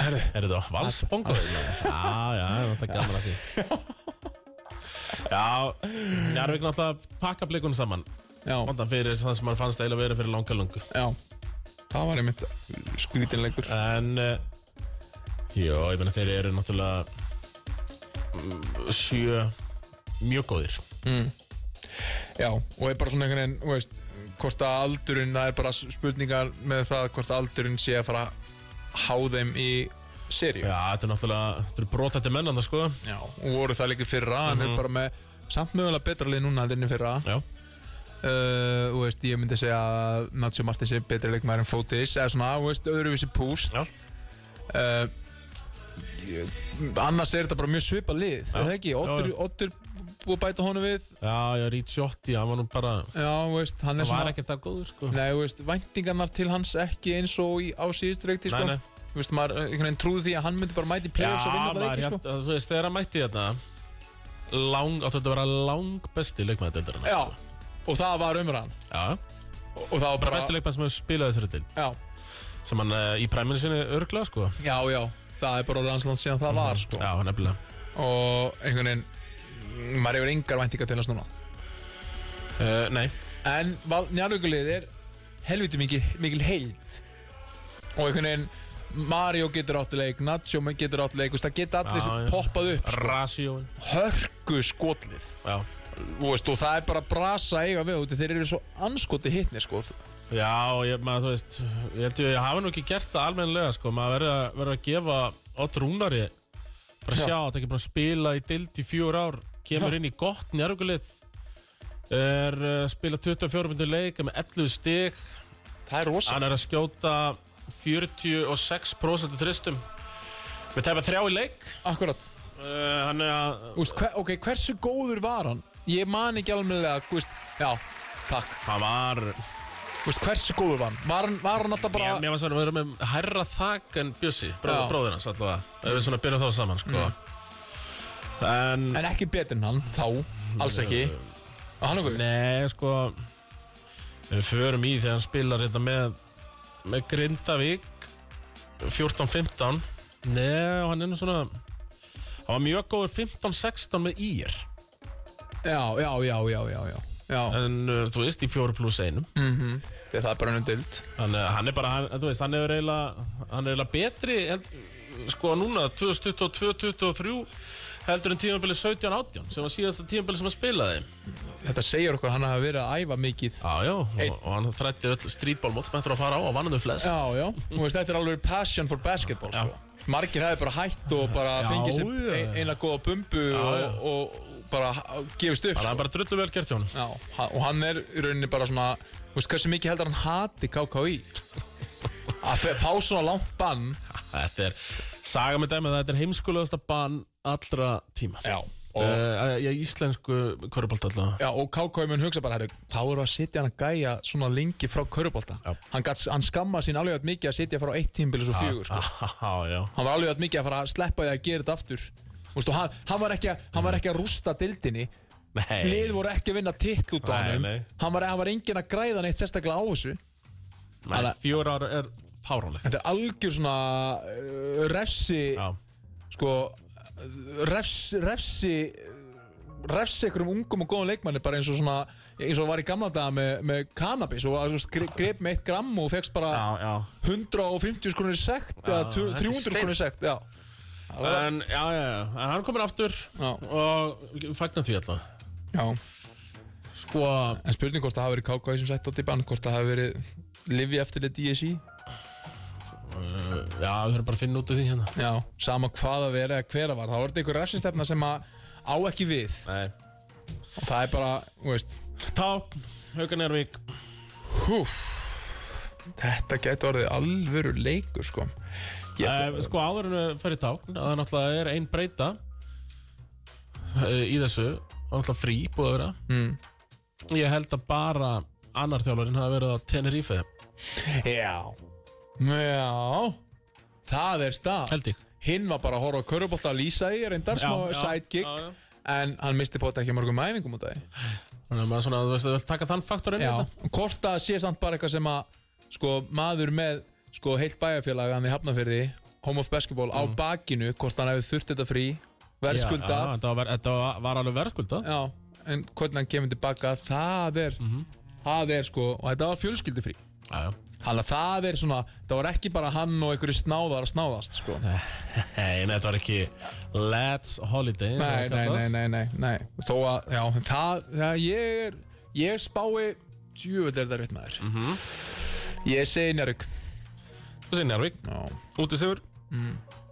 Herru. Er þetta valsbongo? já, já, það er gaman að því. Já, Njarvík náttúrulega pakka blikunum saman.
já,
Vondan fyrir það sem hann fannst eiginlega verið fyrir langa lungu.
já það var einmitt skrítinleikur
En, uh, já, ég meina þeir eru náttúrulega mm, sjö mjög góðir.
já, og er bara svona einhvern veginn þú veist, hvort að aldurinn, það er bara spurningar með það hvort að aldurinn sé að fara að há þeim í serju
Já, þetta er náttúrulega, þetta eru brotætti mennanda, sko.
Já, og voru það líka í fyrra en er bara með samt mögulega betra lið núna en í fyrra
Mhm. Já.
uh, og veist, ég myndi segja að Nacho Martins er betri leikmæður en Fótis eða svona, þú veist, öðruvísi púst
Já.
uh, ég- annars er þetta bara mjög svipa lið er það ekki,
Já,
Oddur,
já.
Oddur búið að bæta honum við
Já, já, Rítsjótti, hann var nú bara
já, þú veist, hann er
Það var
svona
ekkert það góður, sko
nei, þú veist, væntingarnar til hans ekki eins og í, á síðustu reikti sko.
Nei, nei.
Þú veist, maður einhvern veginn trúði því að hann myndi bara mæti play-offs og vinna
maður,
þetta leiki sko.
held að, þú veist, þegar hann mætti þarna Lang, áttu þetta að vera lang besti leikmaður deildarinn
já, og það var umræðan
já,
og, og það var
bara
bara,
besti leikmaður sem hefur spilað þessari deild
já,
Sem hann uh, í præminu sinni örgla, sko
já, já, það er bara orðið hans land síðan það var sko.
Mhm, Já, nefnilega
og einhvern veginn mm, maður hefur engar væntingar til hans núna
uh, Nei,
en Njarvíkulið er helviti mikil, mikil heild og einhvern veginn Mario getur átti leik, Nacho getur átti leik þú veist, það geta allir
Já,
sem
já.
poppað upp sko.
Rasíóin
hörku skotlið
Já,
Þú veist, og það er bara brasa að eiga við úti, þeir eru svo anskoti hittni sko.
já og ég, maður, þú veist Ég held ég, ég hafi nú ekki gert það almennilega, sko Maður verður að, verður að gefa Ott Rúnari Bara sjá, þetta ekki bara að spila í deild í fjör ár Kemur inn í gott njárugulið Er eh, uh, spila 24 myndir leik er með 11 stig
það er rosa
Hann er að skjóta 46% þristum Við tæpa þrjá í leik
Akkurat
uh, Hann er að
Úst, hver, Ok, hversu góður var hann? Ég man ekki alveglega Úst, Já, takk
Hann var
Úst, Hversu góður var hann? Var hann, var hann alltaf bara
Mér, mér var svona að vera með hærra þak en Bjössi
Já.
Bróðir hans alltaf Ef við svona byrjum þá saman sko.
Mm.
En
En ekki betur en hann Þá Alls ekki Og hann okkur
Nei, sko Við förum í þegar hann spilar þetta með með Grindavík 14-15 Nei, og hann er nú svona hann var mjög góður 15-16 með ír
Já, já, já, já, já, já. já. Mhm.
en uh, þú veist í 4 pluss 1
Því að Það er bara ennum dild
hann, uh, hann er bara, hann, þú veist, hann er eiginlega hann er eiginlega betri held, sko núna 2022-2023 heldur en tímabili 17-18 sem var síðasta tímabili sem hann spilaði
Þetta segir okkur að hann hafa verið að æfa mikið
Já, já, og, og hann þrætti öll strítbólmót sem eftir að fara á og vann þau flest
Já, já Þú veist, þetta er alveg passion for basketball sko. Margir hefði bara hætt og bara
Já,
fengið sér
já, já.
ein- eina góða bumbu
já.
og, og bara ha- gefist upp
Það
sko.
er bara drullu vel gert hjá hann
Já, ha- og hann er í rauninni bara svona Þú veist, hversu mikið heldur hann hati
[laughs]
KKÍ Að fe- fá svona langt bann
Þetta er, saga með dæmi að þetta er heimskulegasta bann allra tíma
Já
og...
og,
Ég íslensku körubalt alltaf
Já, og KKÍ mun hugsa bara, herru, hvað eru að sitja hann að gæja svona lengi frá körubólta?
Já.
Hann, gat, hann skamma sín alveg að mikið að sitja frá eitt tímbil og svo fjögur, sko.
Já, já
hann var alveg að mikið að fara að sleppa því að gera þetta aftur Vistu, hann, hann, var ekki að, hann var ekki að rústa dildinni
Nei,
lið voru ekki að vinna titl út á
Nei,
hann
nei.
hann var, hann var engin að græða neitt sérstaklega á þessu
Nei fjör ára er fárónleg
þetta er algjör svona uh, refsi
Já,
sko uh, refs, refsi refsi einhverjum ungum og góðum leikmanni bara eins og svona eins og var í gamla daga með, með cannabis og var, þú veist, gre- grep með eitt gramm og fegst bara
já, já
150 skrunir sekt eða tu-
þetta er
300 skrunir sekt já,
En, já, já, já, en hann komur aftur
já,
og fagnar því alltaf
já.
Sko,
En spurning hvort það hafi verið KKI sem sett á dipan Hvort það hafi verið lifi eftir þetta DSI
já, við höfum bara að finna út af því hérna
Já Sama hvað að vera eða hver að var Þá var þetta einhver refsistefna sem að á ekki við
Nei
Og það er bara, þú veist
Tákn, Haukan Ervík
Húf Þetta getur orðið alvöru leikur sko
Eh, Sko áður en við fyrir tákn að það náttúrulega er ein breyta eh, í þessu og náttúrulega frí búið að vera mm. ég held að bara annar þjálfarinn hafi verið á Tenerife
Já Já Það er stað
held ég
Hinn var bara að horfa á körubólta að lýsa í reyndar
Já,
smá
já,
sidekick
já, já.
En hann misti bóta ekki mörgum æfingum út af því
þannig að maður svona, þú veist, þú vilt taka þann faktorinn
Já, hvort það sé samt bara eitthvað sem að sko, maður með sko, heilt bæjarfélagan í Hafnafyrði Home of Basketball á
Mm.
bakinu hvort hann hefði þurft þetta frí verðskuldað já,
þetta var, þetta var, var alveg verðskuldað
en hvernig hann kemur tilbaka það er,
Mhm.
það er sko og þetta var fjölskyldufrí
já, já.
þannig að það er svona, það var ekki bara hann og einhverju snáðar að snáðast sko. nei,
Nei, nei, þetta var ekki Let's Holiday eins og
nei,
það
nei,
kallast.
nei, nei, nei, þó að, já, það, það ég er, ég spái djúvöld er það rétt maður ég segi njárug
Þú segir Njárvík,
já,
úti sigur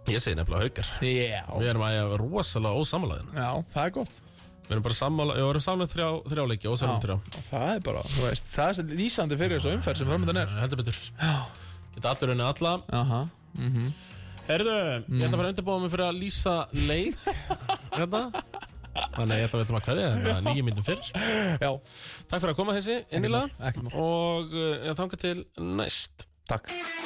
Ég segi nefnilega Haukar
já
Við erum að ég rosalega ósamalæðin
Já, það er gott
Við erum bara sammála, við erum samlega þrjá, þrjá leiki ósamlega þrjá
Það er bara, þú veist, það er sem lýsandi fyrir þessu umferð sem hörmundan er
Nei, Eh, Heldur betur Geta allir unni alla
Aha. mhm.
Herðu, ég ætla að fara að undirbúa mig fyrir að lýsa [laughs] leik Hérna Þannig að ég ætla að veitum að hverja Þannig að nýjum myndum fyrr
Já,
Takk fyrir að koma þessi, innilega eh,
ekkert mál
Og uh, ég þanga til næst
Takk